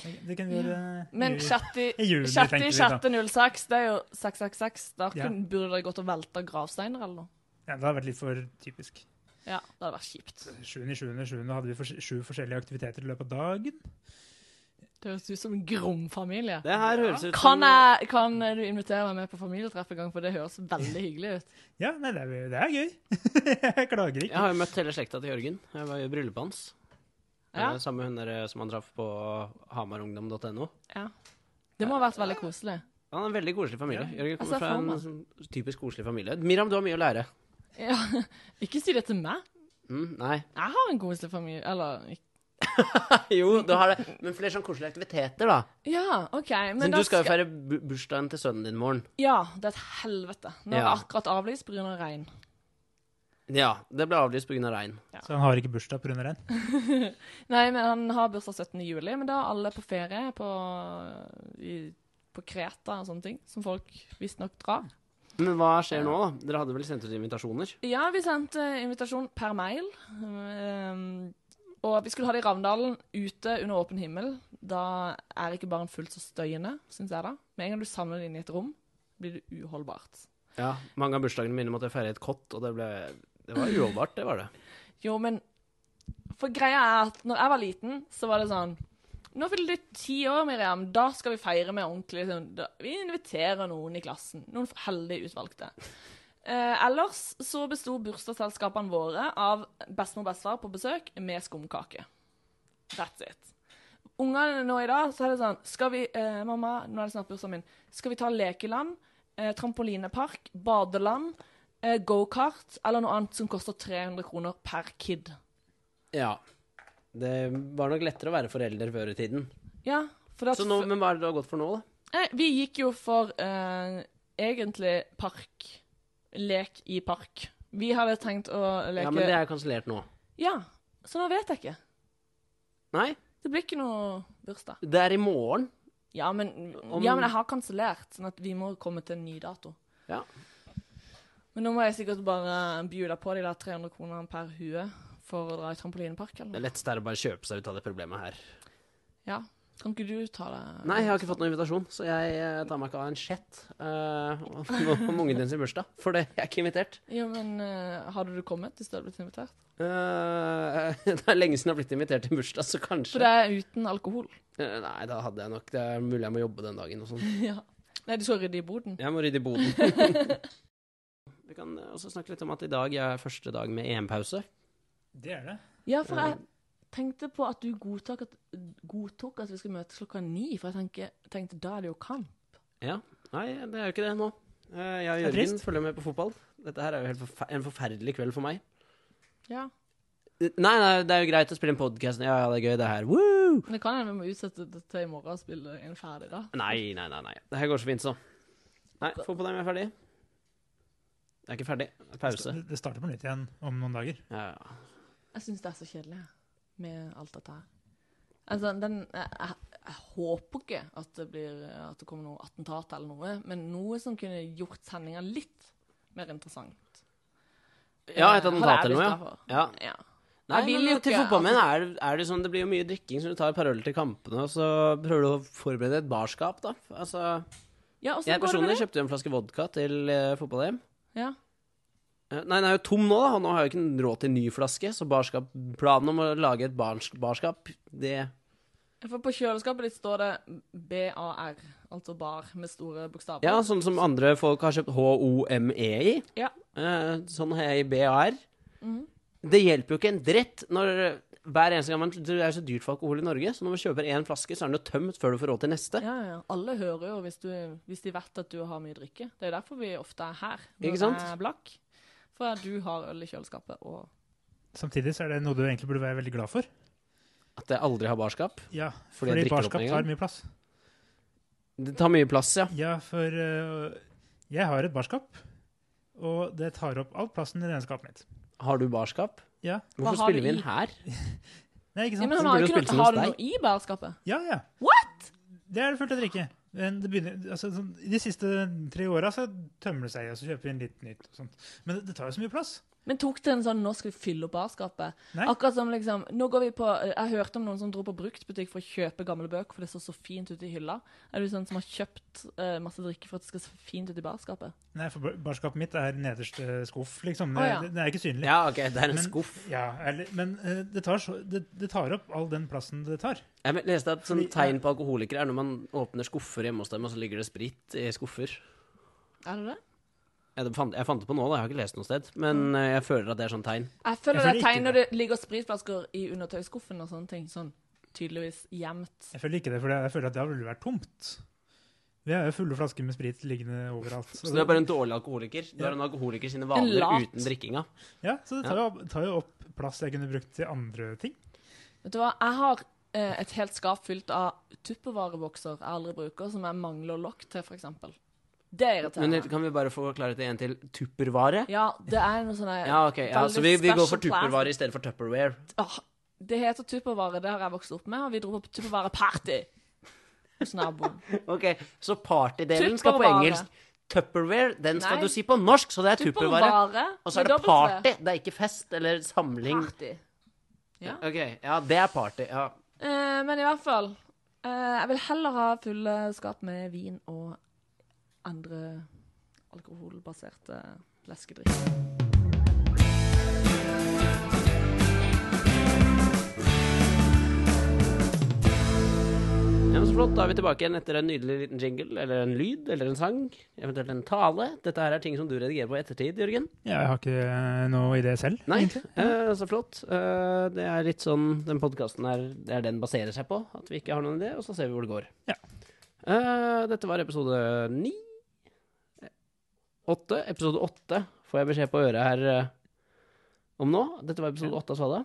Speaker 4: Det kan vi gjøre
Speaker 3: Men
Speaker 4: jul-
Speaker 3: 6.
Speaker 4: I juli, tenkte vi da.
Speaker 3: 06, det er jo 666. Da
Speaker 4: Ja.
Speaker 3: kunne, burde dere gått og velta gravsteiner eller noe.
Speaker 4: ja, Det har vært litt for typisk.
Speaker 3: Ja, det hadde vært kjipt.
Speaker 4: Sjuende, sjuende, sjuende hadde vi fors sju forskjellige aktiviteter i løpet av dagen.
Speaker 3: Det høres ut som en grom familie.
Speaker 1: Det her høres ut
Speaker 3: Kan,
Speaker 1: som
Speaker 3: jeg, kan du invitere meg med på familietreff en gang, for det høres veldig hyggelig ut.
Speaker 4: Ja, nei, det er, det er gøy. jeg klager
Speaker 1: Jeg
Speaker 4: ikke.
Speaker 1: har jo møtt hele slekta til Jørgen. Jeg var jo i bryllupet hans.
Speaker 3: Ja,
Speaker 1: Eh, Samme hun der eh, som han traff på hamarungdom.no.
Speaker 3: ja. Det må ha vært veldig koselig.
Speaker 1: Han er en veldig koselig familie. Jørgen
Speaker 3: Jeg ser
Speaker 1: kommer fra
Speaker 3: for
Speaker 1: en
Speaker 3: meg.
Speaker 1: sånn typisk koselig familie. Miriam, du har mye å lære.
Speaker 3: Ja. Ikke si det til meg.
Speaker 1: Mm, nei.
Speaker 3: Jeg har en koselig familie. Eller ikke-
Speaker 1: jo, du har det. Men flere sånn koselige aktiviteter, da.
Speaker 3: Ja, OK. Men
Speaker 1: Siden
Speaker 3: da
Speaker 1: du skal jo feire bu- bursdagen til sønnen din i morgen.
Speaker 3: Ja, det er et helvete. Nå er det
Speaker 1: Ja.
Speaker 3: akkurat avlyst pga. regn.
Speaker 1: Ja, det ble avlyst pga. regn.
Speaker 4: Så han har ikke bursdag pga. regn.
Speaker 3: Nei, men han har bursdag 17. juli, men da er alle på ferie på, i, på Kreta og sånne ting, som folk visstnok drar.
Speaker 1: Men hva skjer nå, da? Dere hadde vel sendt ut invitasjoner?
Speaker 3: Ja, vi sendte invitasjon per mail. ehm, og vi skulle ha det i Ravndalen ute under åpen himmel. Da er ikke barn fullt så støyende, syns jeg da. Med en gang du samler det inn i et rom, blir det uholdbart.
Speaker 1: Ja, mange av bursdagene mine måtte jeg feire i et kott, og det ble Det var uholdbart, det var det.
Speaker 3: Jo, men For greia er at når jeg var liten, så var det sånn Nå fyller du ti år, Miriam. Da skal vi feire med ordentlig. Sånn, da, vi inviterer noen i klassen. Noen heldig utvalgte. Eh, ellers så besto bursdagsselskapene våre av bestemor og bestefar på besøk med skumkake. That's it. Ungene nå i dag, så er det sånn Skal vi eh, Mamma, nå er det snart bursdagen min. Skal vi ta lekeland, eh, trampolinepark, badeland, eh, gokart eller noe annet som koster 300 kroner per kid?
Speaker 1: Ja. Det var nok lettere å være forelder før i tiden.
Speaker 3: Ja, for at
Speaker 1: Så nå, men hva er det du har gått for nå, da?
Speaker 3: Nei, Vi gikk jo for eh, egentlig park. Lek i park. Vi hadde tenkt å leke
Speaker 1: Ja, men det er kansellert nå.
Speaker 3: Ja, så nå vet jeg ikke.
Speaker 1: Nei,
Speaker 3: Det blir ikke noe bursdag.
Speaker 1: det er i morgen.
Speaker 3: Ja, men,
Speaker 1: Om-
Speaker 3: ja, men jeg har kansellert, sånn at vi må komme til en ny dato.
Speaker 1: Ja.
Speaker 3: Men nå må jeg sikkert bare bjuda på de der 300 kronene per hue for å dra i trampolinepark,
Speaker 1: Det
Speaker 3: eller noe.
Speaker 1: er lettest er å bare kjøpe seg ut av det problemet her.
Speaker 3: Ja. Kan ikke du ta det?
Speaker 1: Nei, jeg har ikke fått noen invitasjon, så jeg eh, tar meg ikke av en sjett eh, om om ungen din sin bursdag. For det, jeg er ikke invitert.
Speaker 3: Jo, men eh, hadde du kommet hvis du hadde blitt invitert?
Speaker 1: Eh, det er lenge siden jeg har blitt invitert til bursdag, så kanskje
Speaker 3: For det er uten alkohol.
Speaker 1: Eh, Nei, da hadde jeg nok Det er mulig jeg må jobbe den dagen og sånn.
Speaker 3: ja. Nei, du skal rydde i boden.
Speaker 1: Jeg må rydde i boden. Vi kan eh, også snakke litt om at i dag er første dag med EM-pause.
Speaker 4: Det er det.
Speaker 3: Ja, for jeg tenkte på at du godtok at, godtok at vi skulle møtes klokka ni, for jeg tenker, tenkte da er det jo kamp.
Speaker 1: Nei, det er jo ikke det nå. Eh, Jeg og
Speaker 4: Det er
Speaker 1: Jørgen
Speaker 4: trist.
Speaker 1: følger med på fotball. Dette her er jo helt forfe en forferdelig kveld for meg.
Speaker 3: Ja.
Speaker 1: Eh, Nei, nei, det er jo greit å spille en podkast. Ja, ja, det er gøy, det her. Woo!
Speaker 3: Men det kan hende vi må utsette det til i morgen og spille en ferdig, da.
Speaker 1: Nei, nei, nei. nei. Det her går så fint, så. Nei, få på deg om jeg er ferdig. Jeg er ikke ferdig. Det er Pause.
Speaker 4: Det starter på nytt igjen om noen dager.
Speaker 1: Ja, ja.
Speaker 3: Jeg syns det er så kjedelig med alt dette her. Altså, den, jeg, jeg, jeg håper ikke at det, blir, at det kommer noe attentat eller noe, men noe som kunne gjort sendinga litt mer interessant.
Speaker 1: ja et
Speaker 3: Eh,
Speaker 1: attentat
Speaker 3: hadde
Speaker 1: eller
Speaker 3: jeg lyst
Speaker 1: noe,
Speaker 3: til å få.
Speaker 1: ja. ja.
Speaker 3: Ja.
Speaker 1: Nei,
Speaker 3: Jeg vil
Speaker 1: men
Speaker 3: jo
Speaker 1: til
Speaker 3: ikke,
Speaker 1: fotballmenn er, er det sånn det blir jo mye drikking, så du tar et par øl til kampene, og så prøver du å forberede et barskap, da. Altså,
Speaker 3: Ja, og så
Speaker 1: jeg
Speaker 3: går det med
Speaker 1: personlig
Speaker 3: det.
Speaker 1: kjøpte jo en flaske vodka til eh, fotball-EM.
Speaker 3: Ja.
Speaker 1: Eh, Nei, den er jo tom nå, da, og nå har jeg jo ikke råd til en ny flaske, så barskap, planen om å lage et barns, barskap, det
Speaker 3: For på kjøleskapet ditt står det BAR, altså bar, med store bokstaver.
Speaker 1: Ja, sånn som andre folk har kjøpt HOME E i.
Speaker 3: Ja.
Speaker 1: Eh, sånn har jeg i BAR.
Speaker 3: Mm.
Speaker 1: Det hjelper jo ikke en dritt når hver eneste gang man, Det er jo så dyrt for alkohol i Norge, så når man kjøper én flaske, så er den jo tømt før du får råd til neste.
Speaker 3: Ja, ja. Alle hører jo hvis, du, hvis de vet at du har mye drikke. Det er jo derfor vi ofte er her når
Speaker 1: Ikke sant?
Speaker 3: jeg er blakk. For at du har øl i kjøleskapet og
Speaker 4: Samtidig så er det noe du egentlig burde være veldig glad for.
Speaker 1: At jeg aldri har barskap.
Speaker 4: Ja,
Speaker 1: Fordi jeg
Speaker 4: fordi
Speaker 1: drikker opp
Speaker 4: barskap
Speaker 1: med en gang.
Speaker 4: tar mye plass.
Speaker 1: Det tar mye plass, ja.
Speaker 4: Ja, for øh, jeg har et barskap, og det tar opp all plassen i det ene skapet mitt.
Speaker 1: Har du barskap?
Speaker 4: Ja,
Speaker 1: Hvorfor
Speaker 3: har
Speaker 1: spiller
Speaker 3: vi
Speaker 1: vi inn
Speaker 3: i?
Speaker 1: her?
Speaker 4: Nei,
Speaker 3: ja,
Speaker 4: ikke sant?
Speaker 1: Så
Speaker 3: Men han har,
Speaker 1: burde du
Speaker 3: ikke
Speaker 1: spilt
Speaker 3: noe,
Speaker 1: inn
Speaker 3: har du
Speaker 1: hos
Speaker 3: noe i bærskapet?
Speaker 4: Ja, ja.
Speaker 3: What?!
Speaker 4: Det er det fullt å drikke. Men det begynner, altså, sånn, I de siste tre åra så tømmer det seg, og så kjøper vi inn litt nytt. og sånt. Men det, det tar jo så mye plass.
Speaker 3: Men tok det en sånn 'nå skal vi fylle opp barskapet'?
Speaker 4: Nei.
Speaker 3: Akkurat som liksom nå går vi på, Jeg hørte om noen som dro på bruktbutikk for å kjøpe gamle bøker, for det så så fint ut i hylla. Er du sånn som har kjøpt eh, masse drikke for at det skal se fint ut i barskapet?
Speaker 4: Nei, for bar- barskapet mitt er nederste skuff, liksom. Det,
Speaker 3: Å, ja.
Speaker 4: det, det er ikke synlig.
Speaker 1: Ja, ok, det er en
Speaker 4: Men-
Speaker 1: skuff.
Speaker 4: Ja, eller, men eh, det, tar så, det, det tar opp all den plassen det tar.
Speaker 1: Jeg men- leste at sånn
Speaker 4: Fordi-
Speaker 1: tegn på alkoholikere er når man åpner skuffer hjemme hos dem, og så ligger det sprit i skuffer.
Speaker 3: Er det det?
Speaker 1: Jeg det fant, jeg fant det på nå, da. Jeg har ikke lest noe sted. Men eh, jeg føler at det er sånn tegn.
Speaker 3: Jeg føler
Speaker 4: Jeg
Speaker 3: det
Speaker 4: føler
Speaker 3: er
Speaker 4: ikke
Speaker 3: tegn når det
Speaker 4: det.
Speaker 3: ligger spritflasker i undertøyskuffen og sånne ting. Sånn tydeligvis gjemt.
Speaker 4: Jeg føler ikke det, for jeg føler at det ville vært tomt. Vi har jo fulle flasker med sprit liggende overalt.
Speaker 1: Så du er bare en dårlig alkoholiker? Du er en alkoholiker sine vaner
Speaker 3: lat.
Speaker 1: uten drikkinga?
Speaker 4: Ja, så det tar jo, opp, tar jo opp plass jeg kunne brukt til andre ting.
Speaker 3: Vet du hva, jeg har eh, et helt skap fylt av tuppervarebokser jeg aldri bruker, som jeg mangler lokk til, f.eks. Det irriterer
Speaker 1: Men
Speaker 3: meg.
Speaker 1: kan vi bare få klare det en til? Tuppervare?
Speaker 3: Ja, det er noe sånn
Speaker 1: Ja, ok. Ja,
Speaker 3: veldig
Speaker 1: så vi, vi går for
Speaker 3: special plastic.
Speaker 1: tuppervare i stedet for Tupperware.
Speaker 3: Åh, Det heter tuppervare, det har jeg vokst opp med, og vi dro på tuppervare-party hos naboen.
Speaker 1: Ok, Så partydelen skal på
Speaker 3: Tupperware.
Speaker 1: engelsk. Tupperware den skal
Speaker 3: Nei.
Speaker 1: du si på norsk, så det er tupperware. Og så er det
Speaker 3: med dobbelt V.
Speaker 1: party, det er ikke fest eller samling.
Speaker 3: Party. Ja.
Speaker 1: Ok, Ja, det er party. ja.
Speaker 3: Eh, men i hvert fall eh, Jeg vil heller ha fulle skap med vin og andre alkoholbaserte leskedrikker.
Speaker 1: Ja, men så flott, Da er vi tilbake igjen etter en nydelig liten jingle, eller en lyd, eller en sang, eventuelt en tale. Dette her er ting som du redigerer på i ettertid, Jørgen.
Speaker 4: Ja, jeg har ikke eh, noe idé selv.
Speaker 1: Nei, eh, så flott. Eh, det er litt sånn den podkasten er, det er den baserer seg på. At vi ikke har noen idé, og så ser vi hvor det går.
Speaker 4: Ja.
Speaker 1: Eh, dette var episode ni. Eh, Åtte. Episode åtte får jeg beskjed på øret her eh, om nå. Dette var episode åtte av Svada.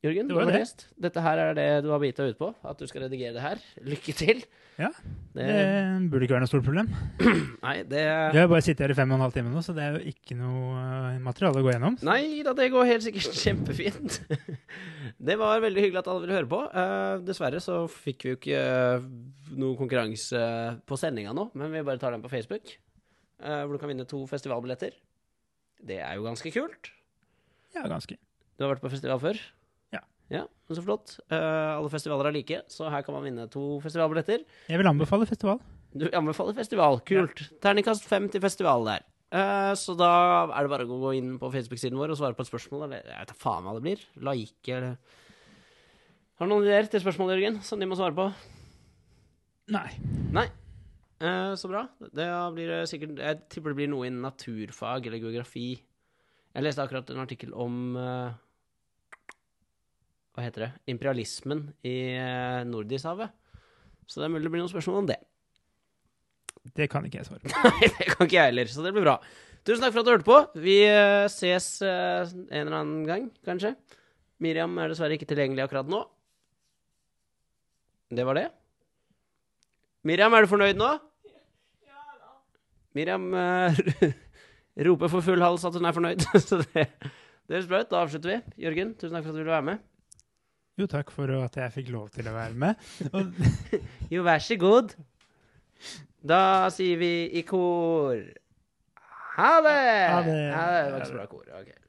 Speaker 1: Jørgen,
Speaker 4: Det
Speaker 1: det
Speaker 4: var
Speaker 1: var
Speaker 4: det.
Speaker 1: Gjest. dette her er det du har bita ut på. At du skal redigere det her. Lykke til.
Speaker 4: Ja.
Speaker 1: Det,
Speaker 4: Det burde ikke være noe stort problem.
Speaker 1: nei, det
Speaker 4: Jeg har bare sittet her i fem og en halv time nå, så det er jo ikke noe eh, materiale å gå gjennom.
Speaker 1: Nei da, det går helt sikkert kjempefint. Det var veldig hyggelig at alle ville høre på. Eh, dessverre så fikk vi jo ikke eh, noe konkurranse på sendinga nå, men vi bare tar den på Facebook, eh, hvor du kan vinne to festivalbilletter. Det er jo ganske kult.
Speaker 4: Ja, ganske.
Speaker 1: Du har vært på festival før?
Speaker 4: Ja.
Speaker 1: Ja, men Så flott. Eh, alle festivaler er like, så her kan man vinne to festivalbilletter.
Speaker 4: Jeg vil anbefale festival.
Speaker 1: Du anbefaler festival. Kult. Terningkast fem til festival der. Eh, så da er det bare å gå inn på Facebook-siden vår og svare på et spørsmål. Eller jeg vet da faen hva det blir. Like eller Har du noen ideer til spørsmål, Jørgen, som de må svare på?
Speaker 4: Nei.
Speaker 1: Nei. Eh, så bra. Da blir det sikkert Jeg tipper det blir noe innen naturfag eller geografi. Jeg leste akkurat en artikkel om eh, Hva heter det? Imperialismen i eh, Nordishavet. Så det er mulig det blir noen spørsmål om det.
Speaker 4: Det kan ikke jeg svare på.
Speaker 1: Nei, det kan ikke jeg heller, så det blir bra. Tusen takk for at du hørte på. Vi eh, ses eh, en eller annen gang, kanskje. Miriam er dessverre ikke tilgjengelig akkurat nå. Det var det. Miriam, er du fornøyd nå? Miriam eh, roper for full hals at hun er fornøyd, så det, det høres bra ut. Da avslutter vi. Jørgen, tusen takk for at du ville være med.
Speaker 4: Jo, takk for at jeg fikk lov til å være med. Og
Speaker 1: Jo, vær så god. Da sier vi i kor Ha det!
Speaker 4: Ha det.
Speaker 1: Ja, det var ikke så bra kor. ok